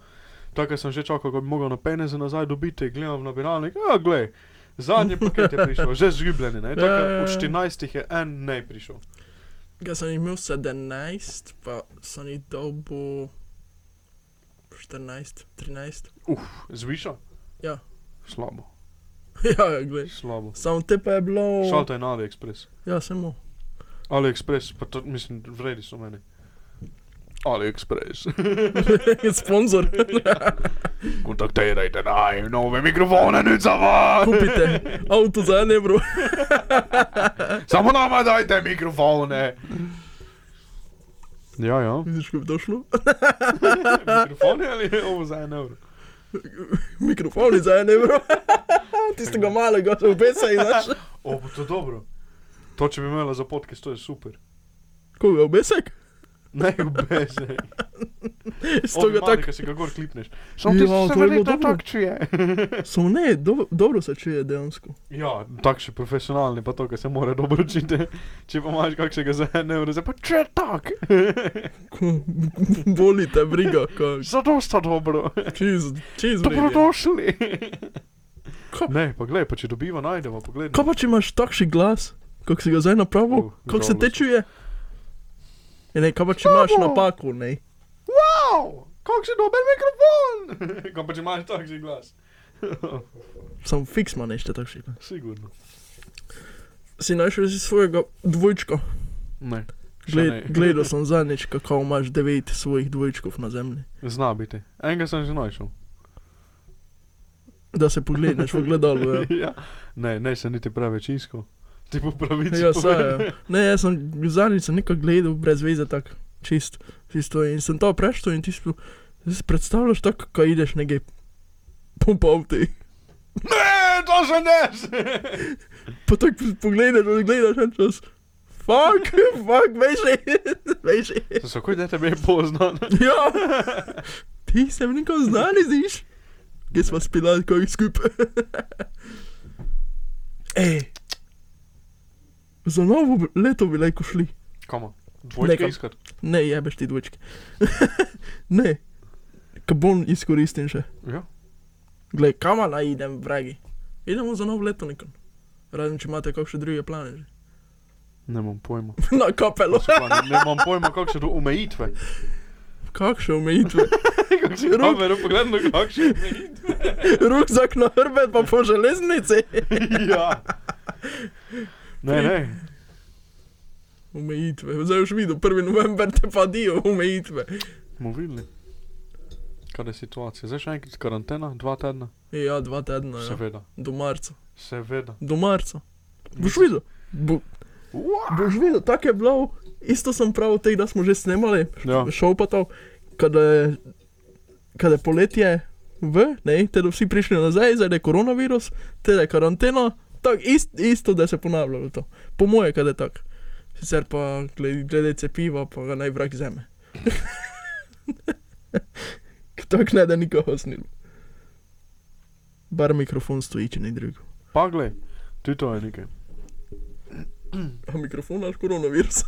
Speaker 3: tako da sem že čakal, ko bi mogel na peneze nazaj dobiti, gledam v nabiralnik, ja, glej, zadnji paket je prišel, že zgibljen, ne, tako
Speaker 2: Ja, ja,
Speaker 3: da
Speaker 2: ja.
Speaker 3: od 14 je en ne prišel.
Speaker 2: Jaz sem jih imel 17, pa sem jih dobil 14, 13.
Speaker 3: Zviša?
Speaker 2: Ja.
Speaker 3: Slabo,
Speaker 2: ja, ja, gledaj.
Speaker 3: slabo.
Speaker 2: Samo te pa je bilo.
Speaker 3: Šalta je na AliExpress.
Speaker 2: Ja, samo.
Speaker 3: AliExpress, pa to mislim, vredi so meni. AliExpress.
Speaker 2: Sponzor.
Speaker 3: Kontaktirajte naj nove mikrofone, nič za vas.
Speaker 2: Kupite avto za en evro.
Speaker 3: Samo nama dajte mikrofone. Ja, ja.
Speaker 2: Vidiš, kako je to šlo?
Speaker 3: Mikrofone ali ovo za en evro?
Speaker 2: Mikrofoni za en evro. Tistega malega, se obesa in znaš.
Speaker 3: O, bo to dobro. To, če bi imela za podcast, to je super.
Speaker 2: Koga obesek?
Speaker 3: Ne, obeze.
Speaker 2: Stoga
Speaker 3: tak...
Speaker 2: tak.
Speaker 3: Kaj si ga gor klipneš. Samo ti
Speaker 2: Ja,
Speaker 3: se
Speaker 2: to je bilo
Speaker 3: verjetno
Speaker 2: dobro.
Speaker 3: tak čuje.
Speaker 2: Samo ne, do, dobro se čuje dejansko.
Speaker 3: Ja, tak še profesionalni, pa to, kar se mora dobro učiti. Če pa imaš kakšnega za en evro, zdaj pa če tak.
Speaker 2: Ko- Boli te briga, ko
Speaker 3: Zadosta dobro.
Speaker 2: čez, čez briga.
Speaker 3: Dobrodošli.
Speaker 2: Ko-
Speaker 3: Ne, pa gled, pa če dobiva, najdemo, pogled.
Speaker 2: Kaj pa če pač imaš takšen glas, kak si ga zdaj napravil,
Speaker 3: Uh,
Speaker 2: uh, kak se te
Speaker 3: užalil sem.
Speaker 2: čuje? Ja, Ne, kaj pa če imaš
Speaker 3: Slabo.
Speaker 2: napako, ne?
Speaker 3: Wow, kakšen dober mikrofon. Kaj pa če imaš takšen glas?
Speaker 2: Sam fiksma nešte takšnega.
Speaker 3: Sigurno.
Speaker 2: Si našel si svojega dvojčka.
Speaker 3: Ne. še
Speaker 2: Gled,
Speaker 3: ne.
Speaker 2: gledal sem zadnjič, kako imaš devet svojih dvojčkov na zemlji.
Speaker 3: Zna biti. Enega sem že našel.
Speaker 2: Da se pogledaš v gledalo. Ja.
Speaker 3: ja. Ne, ne, se niti preveč iskal. Ti po pravici.
Speaker 2: Ja, saj,
Speaker 3: povem.
Speaker 2: ja. Ne, jaz sem zadnjič sem nekaj gledal, brez veze tako, čist, čisto. In sem to preštel in ti si predstavljaš tako, ko ideš nekaj pompavti.
Speaker 3: Ne, to še ne.
Speaker 2: Pa tako pogledaš, da gledaš en čas. Fak, fak, veš, veš.
Speaker 3: Zakaj da tebe je poznan?
Speaker 2: Ja, ti se mi nikoli znani zdiš. Kje smo spila, ko jih skupaj. Ej, za novo leto bi lahko šli.
Speaker 3: Koma?
Speaker 2: Nekam.
Speaker 3: Dvojčka iskat.
Speaker 2: Ne, jebeš ti dvojčke. ne, kabon izkoristim še.
Speaker 3: Ja.
Speaker 2: Glej, kama naj idem, dragi. Idemo za novo leto nikam. Razen, če imate kakšne druge plane že.
Speaker 3: Ne imam pojma.
Speaker 2: Na kapelo.
Speaker 3: Se pa Ne ne imam pojma, kakšne do omejitve.
Speaker 2: Kakšne omejitve.
Speaker 3: Kakšne
Speaker 2: Rok.
Speaker 3: omejitve, pogledno kakšne omejitve.
Speaker 2: Rukzak na hrbet pa po železnici.
Speaker 3: ja. Ne, ne.
Speaker 2: Omejitve. Zdaj už videl, 1. november te pa dio omejitve.
Speaker 3: Bomo videli, kaj je situacija. Zdaj še enkrat karantena, dva tedna.
Speaker 2: Ja, dva tedna, ja.
Speaker 3: Seveda,
Speaker 2: do marca.
Speaker 3: seveda.
Speaker 2: Do marca. Boš videl. Bo, boš videl, tako je bilo. Isto sem pravil, teh, da smo že snemali,
Speaker 3: Ja,
Speaker 2: šel pa to, kada je, kada je poletje v, ne, te da vsi prišli nazaj, zdaj da je koronavirus, te da je karantena, tako ist, isto, da se ponavljalo to. Po moje, kada je tako. Sicer pa glede, glede cepiva, pa ga naj vrak zeme. Tako ne da nikoho snil. Bar mikrofon stoji, če ne drugo.
Speaker 3: pa glej, tudi to je nekaj.
Speaker 2: A mikrofon naš koronavirus.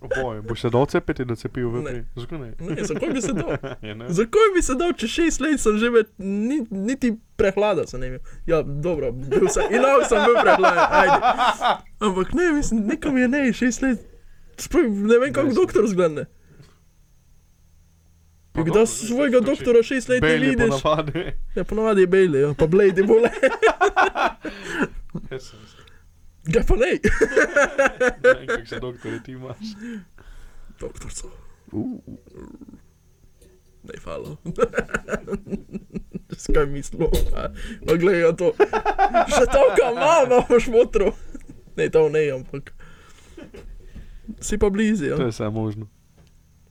Speaker 3: Oboje, boš se dal cepiti in docepil v
Speaker 2: Ne.
Speaker 3: pri. Zakaj ne?
Speaker 2: Ne, zakaj bi se dal?
Speaker 3: Je ne?
Speaker 2: Zakaj bi se dal, če šest let sem že več, ni, niti prehlada sem imel. Ja, dobro, bil sem, in lahko sem bil prehladen, ajde. Ampak ne, mislim, nekam je ne, šest let, spoj, ne vem, kako
Speaker 3: Dvajset.
Speaker 2: doktor zglede.
Speaker 3: Pa dobro,
Speaker 2: Kdaj
Speaker 3: zdaj
Speaker 2: svojega
Speaker 3: to še
Speaker 2: doktora šest let ne
Speaker 3: Bailey
Speaker 2: vidiš?
Speaker 3: ponavadi.
Speaker 2: Ja, ponovadi je Bailey, ja, pa Blade je bolje.
Speaker 3: Jaz sem se-
Speaker 2: Ga pa ne.
Speaker 3: ne vem, kako se doktorje ti imaš.
Speaker 2: Doktor so. Ne, hvala. Skaj mislimo, pa gledaj ja to. Še toliko imamo, boš motro. Ne, to ne, ampak. Si pa blizu,
Speaker 3: To
Speaker 2: ja.
Speaker 3: je vse možno.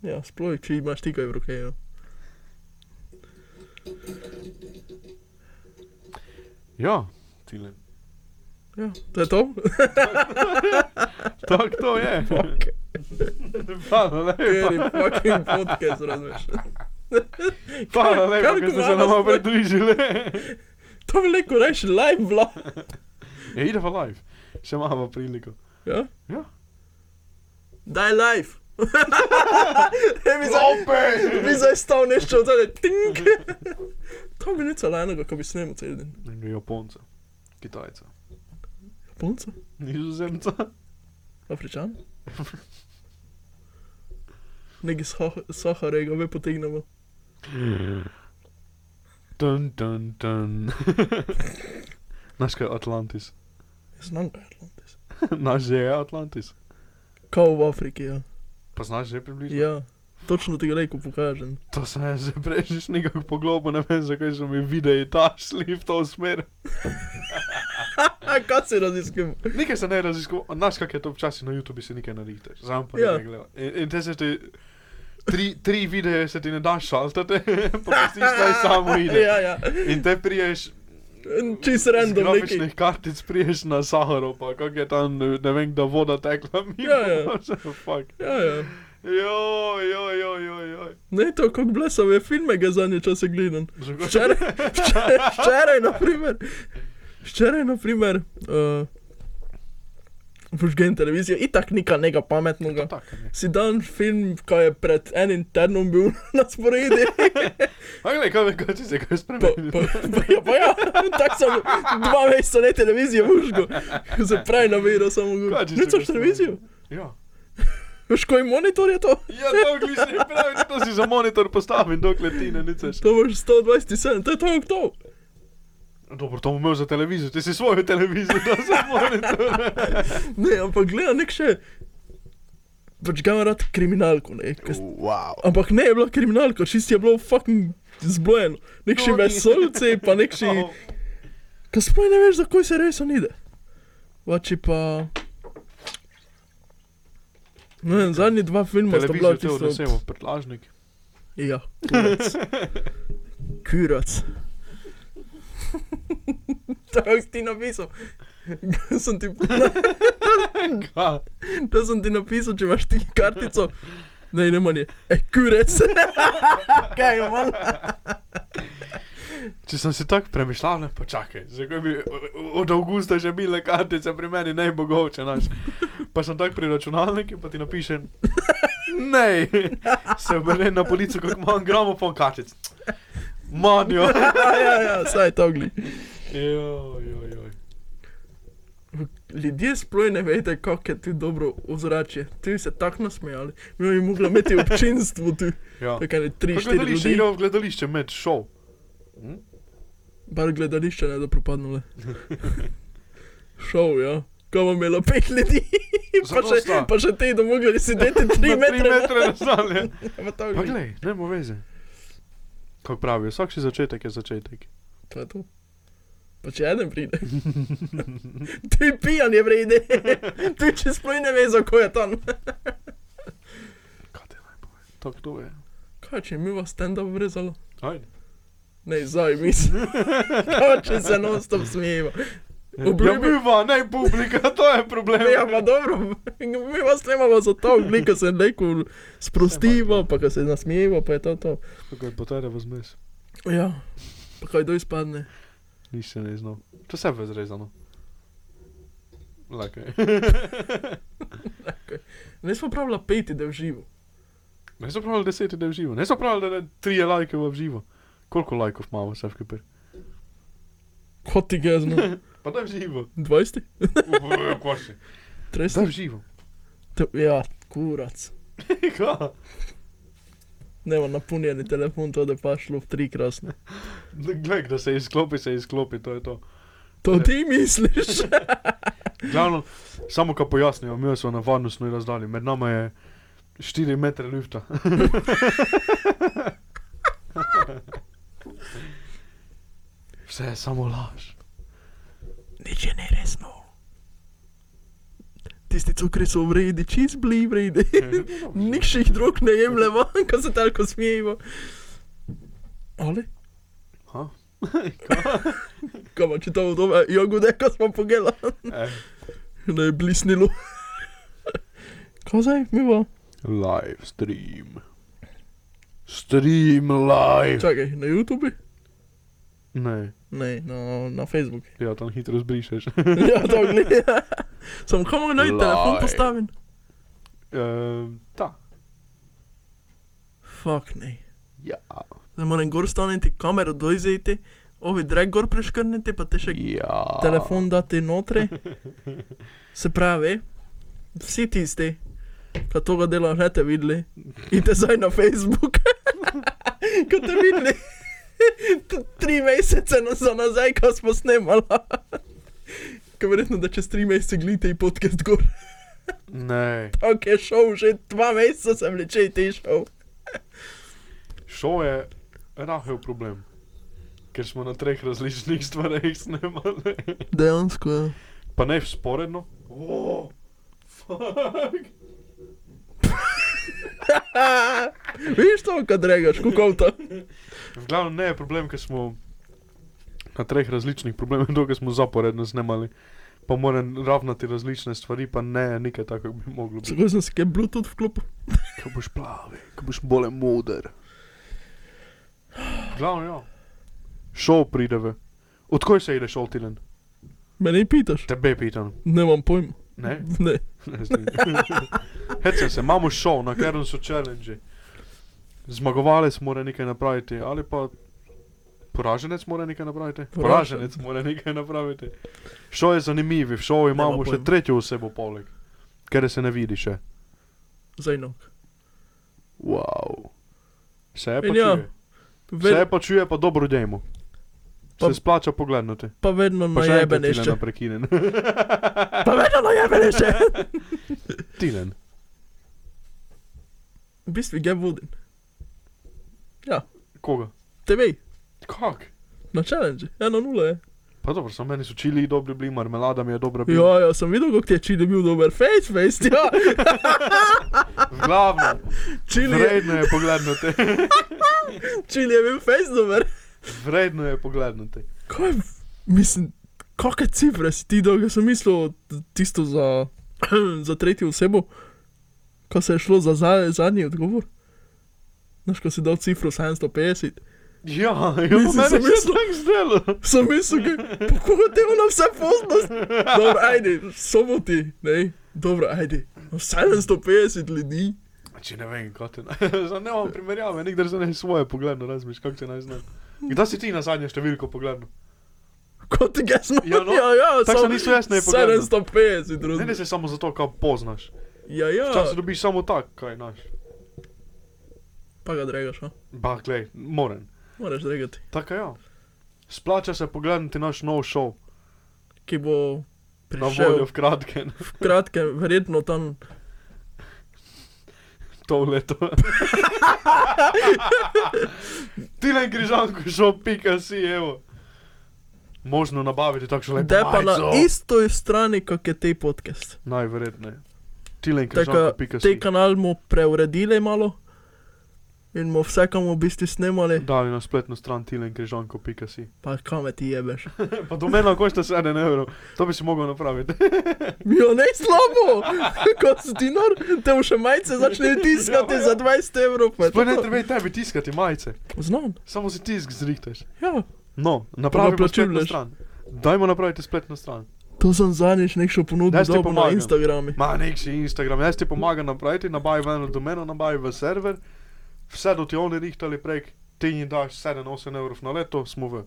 Speaker 2: ja sploh, če imaš ti kaj v roke. Ja.
Speaker 3: Ja, tile.
Speaker 2: Ja, to je to?
Speaker 3: Tako to je.
Speaker 2: Fuck.
Speaker 3: Hvala
Speaker 2: Ker je
Speaker 3: lepa.
Speaker 2: fucking podcast, razumeš.
Speaker 3: Hvala lepa,
Speaker 2: kar
Speaker 3: ker ste se
Speaker 2: glavno
Speaker 3: nama
Speaker 2: sploh-
Speaker 3: pridružili.
Speaker 2: To bi lahko reči live vlog.
Speaker 3: Ja, ide pa live. Še imamo priliko.
Speaker 2: Ja?
Speaker 3: Ja.
Speaker 2: Daj live. Ne bi zdaj-
Speaker 3: Zopet!
Speaker 2: Bi zdaj stal nešto od zadaj, tink. To bi nič lajnega, ko bi snimal cel dan.
Speaker 3: Enega Japonca, Kitajca,
Speaker 2: Japonca?
Speaker 3: Nizozemca.
Speaker 2: Afričan? Nekaj Saha- Saharega, ve potegnemo.
Speaker 3: Dun, dun, dun. Naš kaj je Atlantis.
Speaker 2: Znam ga, Atlantis.
Speaker 3: Naš že je Atlantis.
Speaker 2: Kao v Afriki, ja.
Speaker 3: Pa znaš že približno?
Speaker 2: Ja, točno ti ga lahko pokažem.
Speaker 3: To sem jaz že prejšnjič nekako poglobo, ne vem zakaj so mi videi tašli v to smer.
Speaker 2: A kaj si raziskam?
Speaker 3: Nekaj se ne raziskuje, znaš kak je to včasih na YouTube se nekaj narihtaš, znam pa
Speaker 2: Ja.
Speaker 3: ja. ne gledam. In, in te se ti, tri, tri videe se ti ne daš šaltati, pa pustiš naj samo ide.
Speaker 2: Ja, ja.
Speaker 3: In te priješ
Speaker 2: Čist random
Speaker 3: Z
Speaker 2: neki.
Speaker 3: grafičnih kartic priješ na Saharo, pa kako je tam, ne vem, da voda tekla mimo.
Speaker 2: Ja, ja.
Speaker 3: Fuck.
Speaker 2: Ja, ja.
Speaker 3: Joj, joj, joj, joj, joj.
Speaker 2: Ne, to kot blesave filme ga zadnje čase gledam.
Speaker 3: Zakaj-
Speaker 2: Včeraj, včeraj, včeraj naprimer, včeraj, naprimer, uh, požgen televizijo, itak nika nega pametnega.
Speaker 3: Tako, ne.
Speaker 2: Si dan film, ko je pred enim tednom bil na sporedu,
Speaker 3: A glej, kaj veš, kaj si se kaj
Speaker 2: pa,
Speaker 3: spremenil.
Speaker 2: pa, pa, ja, pa ja, tako sem dva meseca ne televizijo užgo, se pravi na vero samo
Speaker 3: Kaj
Speaker 2: govorim.
Speaker 3: Pač, si
Speaker 2: Ne,
Speaker 3: se
Speaker 2: coš
Speaker 3: kaj
Speaker 2: televizijo?
Speaker 3: Ja.
Speaker 2: Veš, koji monitor je to?
Speaker 3: Ja, to glisi, pravi, to si za monitor postavim, dokler ti ne niceš.
Speaker 2: To boš 127, to je to, kako to.
Speaker 3: Dobro, to bom imel za televizijo, ti si svojo televizijo, da za monitor.
Speaker 2: Ne, ampak gledam nek še. Pač ga imam rad kriminalko, ne. Kas,
Speaker 3: Wow.
Speaker 2: ampak ne je bila kriminalka, čist je bilo fucking zblojeno. Nek še
Speaker 3: No, ni. No.
Speaker 2: vesolce, pa nek še... Kaj sploh ne veš, zakaj se res onide. Vači pa... Ne vem, zadnji dva filma sta bila
Speaker 3: Televizijo ti
Speaker 2: tisto...
Speaker 3: odnesemo, prtlažnik.
Speaker 2: Ja, kurac. Kurac. Tako si ti napisal. Sem ti...
Speaker 3: Ja.
Speaker 2: To sem ti napisal, če imaš ti kartico. Ne, ne manj je. E, kurec. Kaj je manj?
Speaker 3: Če sem si tako premišljal, ne počakaj, zakaj bi o- o- od avgusta že bile kartice pri meni najbogoče naš. Pa sem tako pri računalniku, pa ti napišem, ne, se obrne na polico, kako imam gramofon kartic. Manjo.
Speaker 2: Ja, ja, ja, saj to gli.
Speaker 3: Joj, joj, joj.
Speaker 2: Ljudje sploh ne veste, kako je tu dobro ozračje. Tu bi se tako nasmejali. Mi bi mogli imeti občinstvo tu.
Speaker 3: Ja.
Speaker 2: Tako ne, tri,
Speaker 3: Pa
Speaker 2: štiri
Speaker 3: Gledališče,
Speaker 2: ljudi.
Speaker 3: igral v gledališče med šov.
Speaker 2: Bar gledališče ne da propadnule. Šov, ja. Kaj bo imelo pet ljudi? pa, še,
Speaker 3: Zadosta.
Speaker 2: pa še te, da mogli sedeti tri
Speaker 3: Na tri
Speaker 2: metre.
Speaker 3: metre razdalje.
Speaker 2: Pa to
Speaker 3: Pa
Speaker 2: gli.
Speaker 3: glej, ne bo veze. Kako pravijo, vsakši začetek je začetek.
Speaker 2: To je to. Pa če eden pride. Ti pijan je vrede. Ti če sploh ne veš, kako je tam.
Speaker 3: Kaj te naj povem? Tako to je.
Speaker 2: Kaj če mi vas stand up vrezalo?
Speaker 3: Ajde.
Speaker 2: Ne, zdaj mislim. Kaj če se non stop smejimo.
Speaker 3: Ja,
Speaker 2: Obljubi-
Speaker 3: biva, ne publika, to je problem.
Speaker 2: Ne, ja, pa dobro, mi vas ne imamo za to, glika se neko sprostiva, pa ko se nasmejimo, pa je to to.
Speaker 3: Kako je potare v zmes,
Speaker 2: Ja, pa kaj do izpadne.
Speaker 3: nič se ne znal. To se je zrezano. Lakaj.
Speaker 2: Ne smo pravila peti, da je v živu.
Speaker 3: Ne so pravili deset, da je v živo. Ne so pravili, da je tri lajke v živo. Koliko lajkov imamo, se vkipir?
Speaker 2: Kot ti ga znam.
Speaker 3: Pa da je v živo.
Speaker 2: 20?
Speaker 3: Koši. Da je v
Speaker 2: 30?
Speaker 3: živo.
Speaker 2: To- Ja, kurac.
Speaker 3: Ka?
Speaker 2: Ne, napunjeni telefon, to da pa šlo v tri krasne.
Speaker 3: Glej, da se izklopi, se izklopi, to je to.
Speaker 2: To ti misliš?
Speaker 3: Glavno, samo kaj pojasnijo, mi smo na varnostni razdalji, med nami je 4 metre lifta. Vse je samo laž.
Speaker 2: Nič je neresno. Tisti cukri so vredi, čist bili vredi.
Speaker 3: Ja.
Speaker 2: Nihče jih drug ne jemlje ven, ko se tako smejimo. Ali?
Speaker 3: Ha?
Speaker 2: Kaj pa če to odove, jogode, ko smo pogela.
Speaker 3: Eh,
Speaker 2: Ne je blisnilo. Kaj zdaj, mi bo?
Speaker 3: live stream. Stream live.
Speaker 2: Čakaj, na YouTubi?
Speaker 3: Ne,
Speaker 2: Ne, na, na Facebooku.
Speaker 3: ja, tam hitro zbrišeš. E,
Speaker 2: Ja, to gleda. Sem komu naj telefon
Speaker 3: Laj.
Speaker 2: postavim?
Speaker 3: Ehm, Ta.
Speaker 2: Fak ne.
Speaker 3: Ja.
Speaker 2: Zdaj moram gor staniti, kamero dojzeti, ovi drag gor preškrniti, pa te še
Speaker 3: Ja.
Speaker 2: telefon dati notri. Se pravi, vsi tisti, ki tega dela ne te videli, idite zdaj na Facebook, ki ste videli t- tri mesece na- za nazaj, ko smo snemali. Ker verjetno, da čez tri mesece glite in podcast gor.
Speaker 3: Ne.
Speaker 2: Ok, šel, že dva meseca sem leče in ti šel.
Speaker 3: Šov je rahel problem. Ker smo na treh različnih stvareh snemali.
Speaker 2: Dejansko ja. je.
Speaker 3: Pa ne sporedno. Oh, fuck.
Speaker 2: Viš to, kad regaš, kukovta.
Speaker 3: V glavnem ne je problem, ker smo na treh različnih problemih, dolgo smo zaporedno snemali. Pa moram ravnati različne stvari, pa ne nekaj tako, kot bi moglo biti.
Speaker 2: Zakaj sem si kaj Bluetooth vklopil?
Speaker 3: Ko boš plavi, ko boš bolj moder. Glavno, ja. Šov prideve. Odkoj se ide šov tilen?
Speaker 2: Me ne pitaš,
Speaker 3: Tebe pitam.
Speaker 2: nemam pojma.
Speaker 3: Ne?
Speaker 2: Ne.
Speaker 3: Hecem se, imamo šov, na katerem so challenge. Zmagovalec mora nekaj napraviti, ali pa poraženec mora nekaj napraviti.
Speaker 2: Poražen-
Speaker 3: Poraženec mora nekaj napraviti. Šov je zanimiv, v šovu imamo še
Speaker 2: pojma.
Speaker 3: tretjo osebo poleg, ker se ne vidi še.
Speaker 2: Zdaj no.
Speaker 3: Wow. Se pa
Speaker 2: In ja,
Speaker 3: čuje.
Speaker 2: Ve,
Speaker 3: Se pa čuje, pa dobro dejmo.
Speaker 2: Pa-
Speaker 3: Se splača pogledati.
Speaker 2: pa vedno
Speaker 3: Pa še enkrat
Speaker 2: najebe
Speaker 3: Tilen
Speaker 2: nešče.
Speaker 3: prekinen.
Speaker 2: Pa vedno najebe nešče.
Speaker 3: Tilen.
Speaker 2: V bistvu ga vodim.
Speaker 3: Koga?
Speaker 2: TV,
Speaker 3: Kak?
Speaker 2: na challenge, ena nula je.
Speaker 3: Pa dobro, samo meni so čili dobri bili, marmelada mi je dobra bila.
Speaker 2: Ja, ja, sem videl, kako ti je Čili bil dober. Face, face, ja.
Speaker 3: Glavno.
Speaker 2: Čili je,
Speaker 3: Vredno je pogledati.
Speaker 2: Čili je bil face dober.
Speaker 3: Vredno je pogledati.
Speaker 2: Kaj, je- mislim, kakšne cifre si ti dal, jaz sem mislil t- tisto za, za tretjo osebo, ko se je šlo za, za zadnji odgovor. Znaš, ko si dal cifro 750.
Speaker 3: Ja, ja,
Speaker 2: Mislim,
Speaker 3: meni se
Speaker 2: sem
Speaker 3: je
Speaker 2: mislil-
Speaker 3: tako zdelo.
Speaker 2: Sem mislil, da je to na vse poznost. Dobro, ajde, samo ti, ne, dobro, ajde. No, 750 ljudi.
Speaker 3: Če ne vem, kot je. Zdaj ne imam primerjave, nikdar za ne svoje pogledno, razmiš, kako se naj znam. Kdaj si ti na zadnje številko pogledal?
Speaker 2: Kot ti gasno.
Speaker 3: Ja, no,
Speaker 2: ja, ja
Speaker 3: tako
Speaker 2: samo-
Speaker 3: sem isto jaz ne pogledal.
Speaker 2: 750
Speaker 3: Ne, ne
Speaker 2: ljudi.
Speaker 3: se samo zato, kaj poznaš.
Speaker 2: Ja, ja.
Speaker 3: Včasih dobiš samo tak, kaj naš.
Speaker 2: Pa ga dregaš, no?
Speaker 3: Bah, glej, moren.
Speaker 2: moraš dregati.
Speaker 3: Tako ja. Splača se pogledati naš nov šov,
Speaker 2: Ki bo
Speaker 3: na voljo
Speaker 2: prišel
Speaker 3: v kratkem,
Speaker 2: v kratkem, verjetno tam
Speaker 3: to leto. Tilen Križanko šov, pika si, evo. Možno nabaviti takšno lepo.
Speaker 2: Da je pa na
Speaker 3: majico.
Speaker 2: istoj strani, kot je te podcast.
Speaker 3: Najverjetneje. Tilen
Speaker 2: Tako, te
Speaker 3: Križanko.si
Speaker 2: kanal mu preuredili malo in mu vsakemu v bistvu snemali,
Speaker 3: Dali na spletno stran Tilen Križanko.si
Speaker 2: pa kam ti jebeš.
Speaker 3: Pa domena košta 7 evrov, to bi si mogel napraviti.
Speaker 2: Jo, ne slabo, kot si ti nor, te v še majice začnejo tiskati za 20 evrov. pa je to
Speaker 3: Sploh ne
Speaker 2: to.
Speaker 3: treba tebi tiskati majice,
Speaker 2: Znam,
Speaker 3: samo si tisk zrihteš.
Speaker 2: ja.
Speaker 3: No, napravimo
Speaker 2: plačilnež.
Speaker 3: spletno stran. Dajmo napraviti spletno stran.
Speaker 2: To sem zadnjič nekšno ponudil
Speaker 3: Jaz ti
Speaker 2: dobo na
Speaker 3: pomagam.
Speaker 2: Instagramu.
Speaker 3: Ma nek si Instagram, jaz ti pomagam napraviti, nabavi v eno domeno, nabavi v server, vse do ti oni rihtali prek, ti jim daš 7-8 evrov na leto, smo v.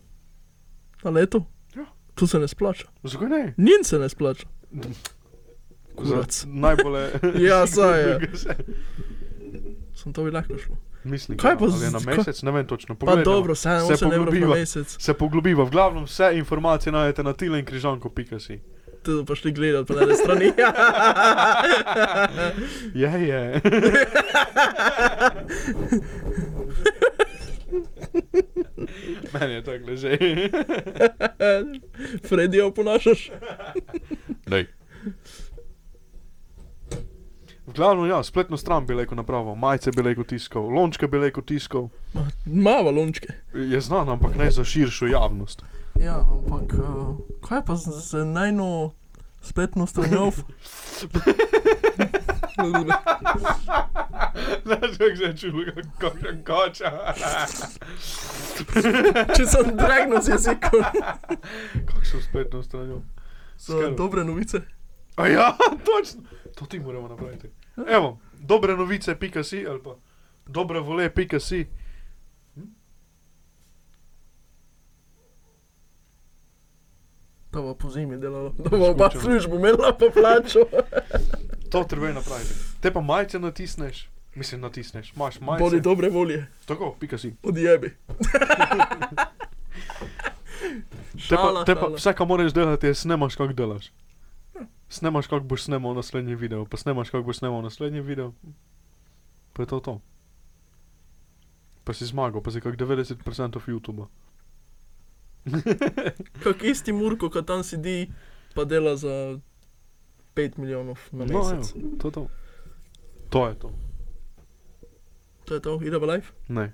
Speaker 2: Na leto?
Speaker 3: Ja.
Speaker 2: To se ne splača.
Speaker 3: Zakaj ne?
Speaker 2: Njen se ne splača. Kurac.
Speaker 3: Za eh, najbolje.
Speaker 2: Ja, saj je.
Speaker 3: Se-
Speaker 2: Sem to bi lahko šlo.
Speaker 3: Mislim,
Speaker 2: Kaj
Speaker 3: kaj
Speaker 2: pa
Speaker 3: pa
Speaker 2: z-
Speaker 3: za na
Speaker 2: kaj-
Speaker 3: mesec, ne vem točno.
Speaker 2: Pa
Speaker 3: Pogledamo.
Speaker 2: dobro, vseeno
Speaker 3: no.
Speaker 2: 8
Speaker 3: se
Speaker 2: evrov na
Speaker 3: poglobiva.
Speaker 2: mesec.
Speaker 3: Se poglobiva, v glavnem vse informacije najdete na tilenkrižanko.si.
Speaker 2: Te pa šli gledati po eni strani.
Speaker 3: Je, je. Meni je tako že.
Speaker 2: Fredi jo Eh, ponašaš.
Speaker 3: Dej. V glavnem, ja, spletno stran bi rekel napravo, majice bi rekel tiskal, lončke bi rekel tiskal.
Speaker 2: Ma, Mava lončke.
Speaker 3: Je znan, ampak ne za širšo javnost.
Speaker 2: Ja, ampak uh, kaj pa z, z najno spletno stranjo?
Speaker 3: Znaš, kako se čuje, kako je koča.
Speaker 2: Če sem dragnil z jezikom.
Speaker 3: Kako so spletno stranjo?
Speaker 2: So
Speaker 3: Skrb.
Speaker 2: dobre novice.
Speaker 3: A ja, točno. To ti moramo napraviti. Evo, dobre novice, pika si, ali pa dobre vole, pika si.
Speaker 2: To bo po zimi delalo. To
Speaker 3: Ja,
Speaker 2: bo oba službo imela pa plačo.
Speaker 3: To treba je napraviti. Te pa majice natisneš, mislim natisneš, imaš majice.
Speaker 2: Bodi dobre volje.
Speaker 3: Tako, pika si.
Speaker 2: Odjebi.
Speaker 3: Te
Speaker 2: Šala,
Speaker 3: pa, te pa
Speaker 2: šala.
Speaker 3: vse, kar moraš delati, je snemaš, kako delaš. Snemaš, kako boš snemal naslednji video, pa snemaš, kako boš snemal naslednji video. Pa je to to. Pa si zmagal, pa si kak 90% YouTube.
Speaker 2: Kak isti Murko, ki tam sedi, pa dela za 5 milijonov na
Speaker 3: No, evo,
Speaker 2: mesec.
Speaker 3: to je to. To je to.
Speaker 2: To je to, ide v live.
Speaker 3: Ne.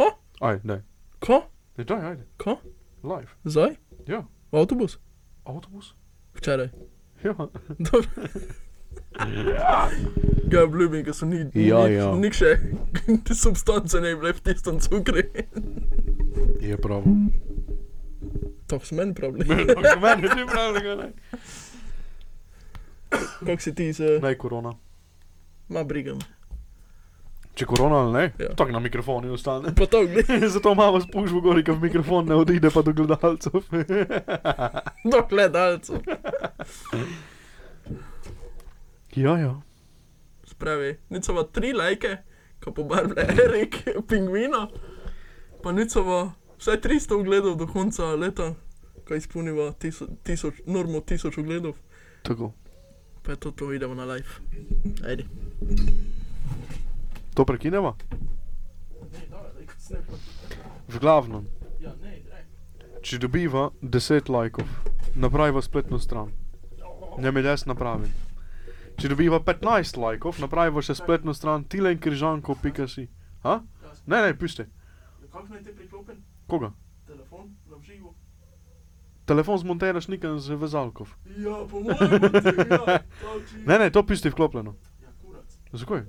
Speaker 2: Ha?
Speaker 3: Aj, ne.
Speaker 2: Ko?
Speaker 3: Ne, daj, ajde.
Speaker 2: Ko?
Speaker 3: Live.
Speaker 2: Zdaj?
Speaker 3: Ja.
Speaker 2: V avtobus?
Speaker 3: Avtobus?
Speaker 2: Včeraj.
Speaker 3: Ja.
Speaker 2: Dobro. Ja, obljubim, ker so ni,
Speaker 3: Ja,
Speaker 2: ni,
Speaker 3: ja.
Speaker 2: nik še, te substance ne bi bile v tistem cukru.
Speaker 3: Je prav.
Speaker 2: To so meni problemi.
Speaker 3: Meni je prav, ne.
Speaker 2: Kako si ti z...
Speaker 3: Naj korona.
Speaker 2: Ma brigam.
Speaker 3: Če korona ali ne,
Speaker 2: Ja.
Speaker 3: ja. tako na mikrofonu ostane.
Speaker 2: Pa to gledaj.
Speaker 3: Zato imamo spužvo gori, ko v mikrofon ne odide pa do gledalcev.
Speaker 2: Do gledalcev.
Speaker 3: ja, ja.
Speaker 2: Spravi, nicovo tri lajke, ko pobarvne Erik, pingvino, pa nicovo vsaj 300 ogledov do konca leta, ko izpolniva tisoč, tisoč, normo 1000 ogledov,
Speaker 3: Tako.
Speaker 2: pa je to, to idemo na live. Ajde.
Speaker 3: To prekineva? V glavnem,
Speaker 2: Ja, ne, ne.
Speaker 3: če dobiva 10 lajkov, napraviva spletno stran. Ne me jaz napravim. Če dobiva 15 lajkov, napraviva še spletno stran tilenkrižanko.si. Ha? Ne, ne, pusti.
Speaker 2: Kako naj ti priklopim
Speaker 3: Koga?
Speaker 2: telefon na živo?
Speaker 3: Telefon zmontiraš nekam z vezalkov.
Speaker 2: Ja, po mojem, ja, toči.
Speaker 3: Ne, ne, to pusti vklopljeno.
Speaker 2: Ja, kurac.
Speaker 3: Zakaj?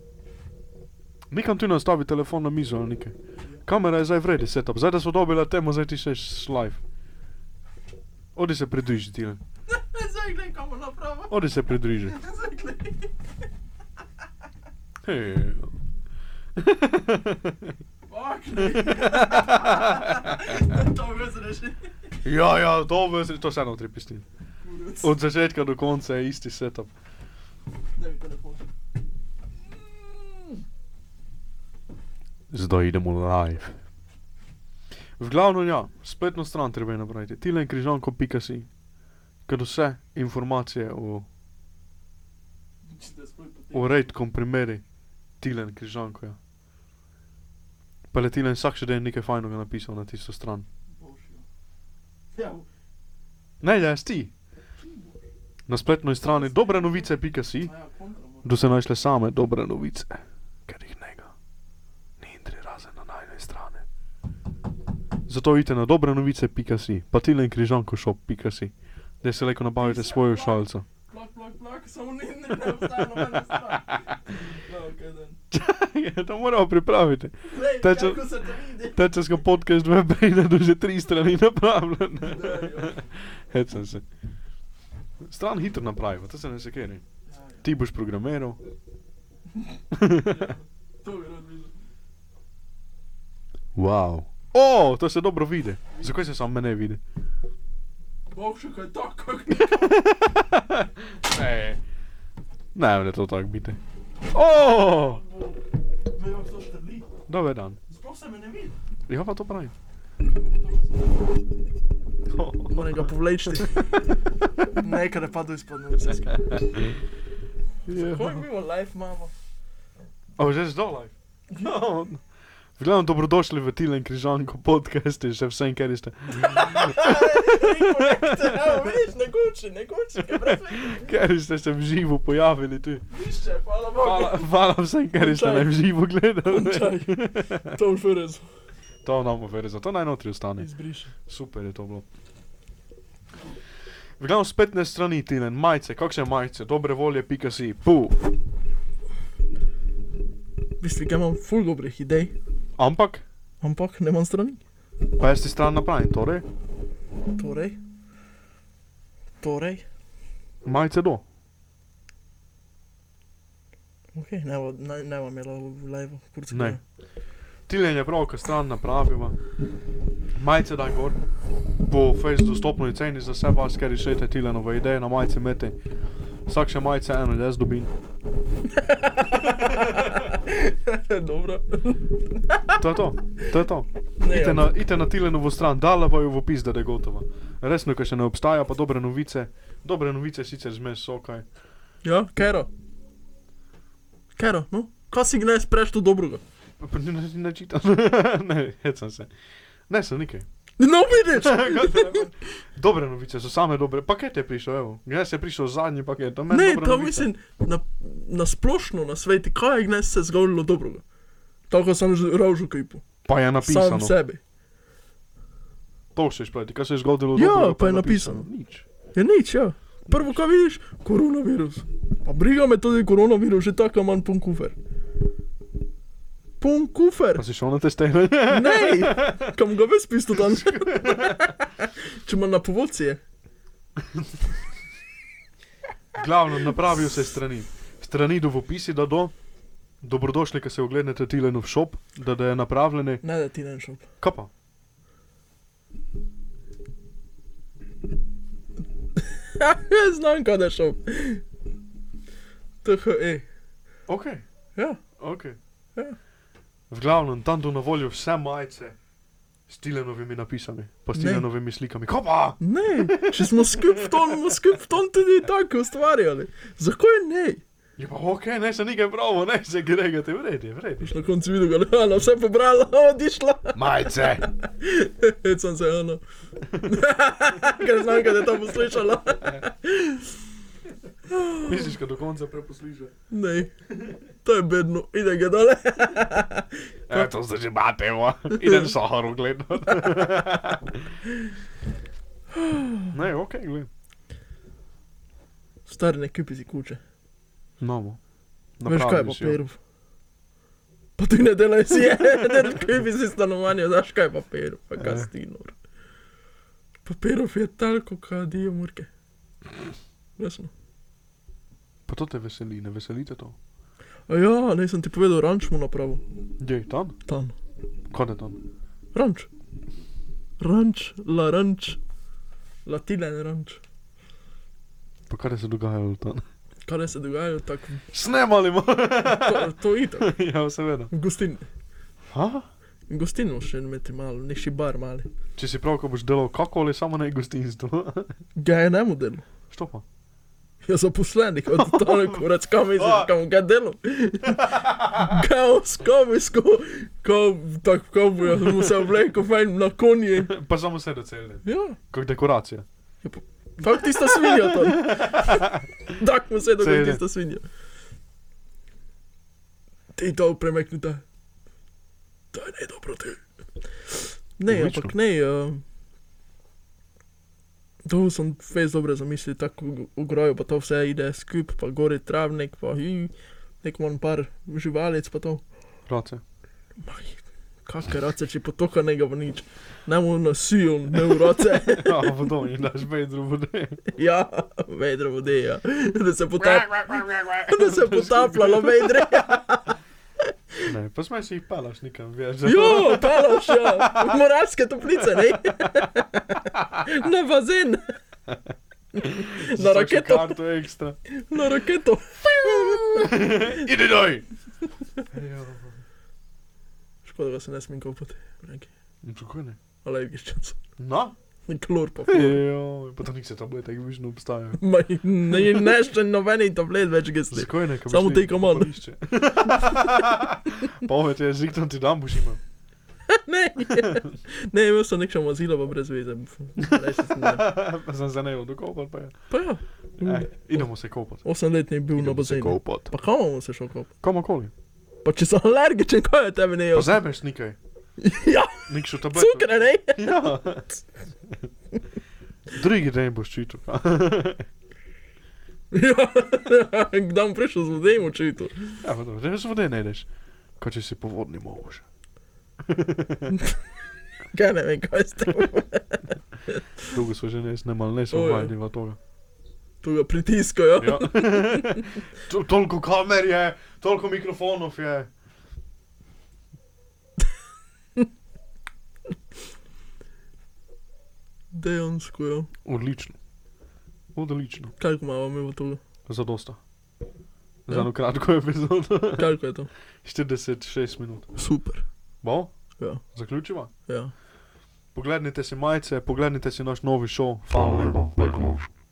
Speaker 3: Nikam tu ne ostavi telefon na mizo ali nekaj. Kamera je zdaj v redu, setup. Zdaj da so dobila temo, zdaj ti še s live. Odi se pridruži, ti.
Speaker 2: Zdaj gledaj, kam bo naprava.
Speaker 3: Odi se pridruži.
Speaker 2: Zdaj gledaj.
Speaker 3: Hej.
Speaker 2: Fak, ne. To me zreši.
Speaker 3: ja, ja, dobro, to se eno tripisti. Od začetka do konca je isti setup.
Speaker 2: Daj mi telefon.
Speaker 3: Zdaj idemo live. V glavnem, ja, spletno stran treba je napraviti, tilenkrižanko.si, ker vse informacije o
Speaker 2: Če te sploh potem.
Speaker 3: v redkom primeru Tilen Križanko. Ja. Pa le Tilen vsak še dan nekaj fajnega napisal na tisto stran.
Speaker 2: Oh, Ja,
Speaker 3: Ne, da jaz ti. Na spletni strani dobre novice, pika si,
Speaker 2: Ah, ja, kontra mora.
Speaker 3: da so našle same dobre novice, ker jih nega. Ni indri razen na najne strani. Zato idite na dobre novice, pika si, pa Tilen Križanko shop, pika si, da se lahko nabavite svojo šalico.
Speaker 2: Plak, plak, plak, samo ni, ne, ne, obstaja nobena stran. No, okej, dan.
Speaker 3: Ja, to moramo pripraviti.
Speaker 2: Glej,
Speaker 3: Ta če-
Speaker 2: kako se to vidi.
Speaker 3: Tečeska podcast web pride do že tri strani napravljene.
Speaker 2: Da, ja.
Speaker 3: Hecam se. Stran hitro napravi, to se ne sekeri. Ti boš programiral.
Speaker 2: To bi rad videl.
Speaker 3: Wow. O, to se dobro vidi. Zakaj se samo mene vidi?
Speaker 2: Bog še kaj tako.
Speaker 3: Ne, ne, ne, to tako biti. O,
Speaker 2: Ne vem, to štrli.
Speaker 3: dober dan.
Speaker 2: Sploh se me ne vidi.
Speaker 3: Ja, pa to pravi.
Speaker 2: Moram ga povleči. Nekaj je padlo izpod nosa. Kako je bilo live, mamo?
Speaker 3: O, že zdolaj. No. V glavnem, dobrodošli v Tilen Križanko podcast in še vsem, kar ste.
Speaker 2: Evo, vidiš, nekoči, nekoči, kaj brez veze.
Speaker 3: Ker ste se v živo pojavili tu.
Speaker 2: Nišče, hvala
Speaker 3: Hvala,
Speaker 2: Bogu.
Speaker 3: hvala vsem, kar ste
Speaker 2: Končaj.
Speaker 3: nam v živo gledali.
Speaker 2: Končaj. Tom Furez,
Speaker 3: To nam ofere, zato naj notri ostane.
Speaker 2: izbriši.
Speaker 3: Super je to bilo. V glavnem, spet ne strani Tilen, majice, kakšne majice, dobre volje, pika si, pu.
Speaker 2: Mislim, da imam ful dobrih idej,
Speaker 3: Ampak,
Speaker 2: ampak ne imam strani.
Speaker 3: pa jaz ti stran napravim, torej,
Speaker 2: Torej, torej,
Speaker 3: majice do.
Speaker 2: ok, ne, bo- ne, ne bom imela v live, kurca.
Speaker 3: Ne. Tilen je prav, ko stran napraviva. Majice da gor. Po Facebooku dostopni ceni za vse vas, ker rešite Tilenove ideje na majice mete. Vsak še majice eno, jaz dobim.
Speaker 2: Dobro.
Speaker 3: To je to, to je to.
Speaker 2: Ne,
Speaker 3: Ite
Speaker 2: ja.
Speaker 3: na, ite na Tilenovo stran, dala pa jo v opis, da je gotova. Resno, ker še ne obstaja, pa dobre novice. Dobre novice sicer zmes so kaj.
Speaker 2: Ja, kero. Kero, no. Kaj si gneš preš to dobrega?
Speaker 3: Pa Ne, ne, ne čitam, ne, hecam se. Ne, sem nekaj.
Speaker 2: No, vidiš!
Speaker 3: Dobre novice so same dobre. Paket je prišel, evo. Jaz je prišel zadnji paket. a meni
Speaker 2: Ne,
Speaker 3: dobra
Speaker 2: to
Speaker 3: novica.
Speaker 2: mislim, na, na splošno na svetu, kaj je gneš se zgodilo dobrega? Tako sem že rožil kipu.
Speaker 3: Pa je napisano.
Speaker 2: Sam sebi.
Speaker 3: To še špleti, kaj se je zgodilo?
Speaker 2: Ja,
Speaker 3: dobrega,
Speaker 2: pa je
Speaker 3: Nič.
Speaker 2: Je nič, ja. Prvo, kaj vidiš, koronavirus. Pa briga me tudi koronavirus, že tako imam pun kufer. Pun kufer!
Speaker 3: Pa si šel na testiranje?
Speaker 2: Ne, kam ga veš pisto tam? Če ima na povodci.
Speaker 3: Glavno, napravijo se strani. Strani do opisi, da do. Dobrodošli, ki se ogledate Tilenov šop, da, da je napravljene.
Speaker 2: Ne, da ti ne šel.
Speaker 3: Kapa.
Speaker 2: Ja, znam, kaj da šel. THE.
Speaker 3: Ok,
Speaker 2: Ja,
Speaker 3: ok.
Speaker 2: Ja.
Speaker 3: V glavnem, tam do na voljo vse majice s Tilenovimi napisami, pa s
Speaker 2: Ne.
Speaker 3: Tilenovimi slikami. Kapa!
Speaker 2: ne, če smo skupaj v tom, smo skupaj v tom tudi tako ustvarjali. Zakaj ne?
Speaker 3: Je pa ok, ne se nekaj pravo, ne se gregate, vredi, vredi.
Speaker 2: Boš na koncu videl, da je ona vse pobrala, odišla.
Speaker 3: Majice!
Speaker 2: Hec sem se, ono. Ker znam, kaj da je tam poslušala.
Speaker 3: Misliš, da do konca preposlušaš?
Speaker 2: Ne, to je bedno, ide ga dole.
Speaker 3: E, to zdaj že imate, idem sohor gledat. ne, ok, gledaj.
Speaker 2: Stari ne kupi si kuče.
Speaker 3: No,
Speaker 2: Veš kaj je
Speaker 3: ja.
Speaker 2: papirov? Pa ti ne delaj si, ne kupi si stanovanje, znaš kaj je papirov, pa kaj si ti nor. Papirov je toliko, kot dio murke. Jasno.
Speaker 3: Pa to te veseli, ne veseli te to.
Speaker 2: A ja, ne sem ti povedal, ranč mu napravo.
Speaker 3: Gdje je tam?
Speaker 2: Tam.
Speaker 3: Kaj je tam?
Speaker 2: Ranč. Ranč, la ranč. Latilen ranč.
Speaker 3: Pa kaj se je dogajalo tam?
Speaker 2: Kaj ne se dogaja, tako.
Speaker 3: Snemali smo!
Speaker 2: To, to itak.
Speaker 3: ja, seveda.
Speaker 2: Gostin.
Speaker 3: Ha?
Speaker 2: Gostinno še imeti malo, neki bar mali.
Speaker 3: Če si prav, ko boš delal kakoli, samo ne gostinstvo.
Speaker 2: Ga je ne mu delo.
Speaker 3: Što pa?
Speaker 2: Ja, zaposlenik, od tega kurac, kam je zdaj, kam ga delo. Kaos, komijsko, ko, tako komu je, mu se obleko, fajn na konji.
Speaker 3: pa samo sede celne.
Speaker 2: Ja,
Speaker 3: Kot dekoracija.
Speaker 2: tako tista svinja tam. Tako mu se dogaja
Speaker 3: Cene.
Speaker 2: tista svinja. Ti to premeknite. To je ne dobro ti. Ne,
Speaker 3: Odlično.
Speaker 2: ampak ne. Uh, to sem fez dobro zamislil, tako ugrojo, pa to vse ide skup, pa gori travnik, pa i, nek manj par živalic, pa to.
Speaker 3: Race.
Speaker 2: Maj, Kakšne race, če potoka ne ga v nič. Ne mu nosijo, ne v roce.
Speaker 3: Ja, vodo in daš bedru vode.
Speaker 2: Ja, vedro vode, ja. Da se potapljalo, da se potapljalo vedre.
Speaker 3: Ne, pa smej si jih palaš nikam, veš. da-
Speaker 2: Jo, palaš, ja. Moravske toplice, ne? Na bazen,
Speaker 3: Z
Speaker 2: na
Speaker 3: takšno
Speaker 2: raketo.
Speaker 3: Karto ekstra.
Speaker 2: na raketo.
Speaker 3: Idi doj!
Speaker 2: Škoda, da se ne smem kopati. Neki
Speaker 3: Čukaj ne.
Speaker 2: alergičen.
Speaker 3: No?
Speaker 2: Klor pa.
Speaker 3: Jo, pa to nikse tablete, ki višno obstajajo.
Speaker 2: Ma, ne, ne še nobenih tablet več gesli.
Speaker 3: Zakaj ne? ko boš
Speaker 2: Samo
Speaker 3: šli
Speaker 2: take command.
Speaker 3: v kopališče. Povej ti, jezik, tam ti dam, boš imel.
Speaker 2: Ne, ne, imel sem nekšno mazilo, pa brez veze. Res se ne.
Speaker 3: Pa sem zanejo dokopal, pa je.
Speaker 2: Pa ja,
Speaker 3: Eh, idemo se kopat.
Speaker 2: osemletni je bil na bazenu.
Speaker 3: Kopat.
Speaker 2: Pa kam bomo se šel kopati?
Speaker 3: Komokoli.
Speaker 2: Pa če sem alergičen, kaj je tebe ne jaz?
Speaker 3: Pozemeš nekaj.
Speaker 2: Ja,
Speaker 3: Nek še tablet.
Speaker 2: cukre, ne?
Speaker 3: Ja. Drugi dan boš čital.
Speaker 2: Ja, kdaj bom prišel z vodem očitu?
Speaker 3: Ja, pa dobro, da se vode ne ideš. Ko če si povodni mož.
Speaker 2: Kaj ne vem, kaj ste.
Speaker 3: Dolgo so že ne snemali, ne so
Speaker 2: Oj.
Speaker 3: vajeni v toga.
Speaker 2: Tu ga pritiskajo.
Speaker 3: Ja. To- toliko kamer je, toliko mikrofonov je.
Speaker 2: Dejansko, ja.
Speaker 3: Odlično. Odlično.
Speaker 2: Kaj imamo mi v tu?
Speaker 3: Zadosta.
Speaker 2: Ja.
Speaker 3: Za eno kratko epizodo.
Speaker 2: Kaj je to?
Speaker 3: 46 minut.
Speaker 2: Super.
Speaker 3: Bo?
Speaker 2: Ja.
Speaker 3: Zaključiva?
Speaker 2: Ja.
Speaker 3: Poglejte si majice, poglejte si naš novi šov,
Speaker 1: Hvala
Speaker 3: Family.
Speaker 1: lepa, najklošt.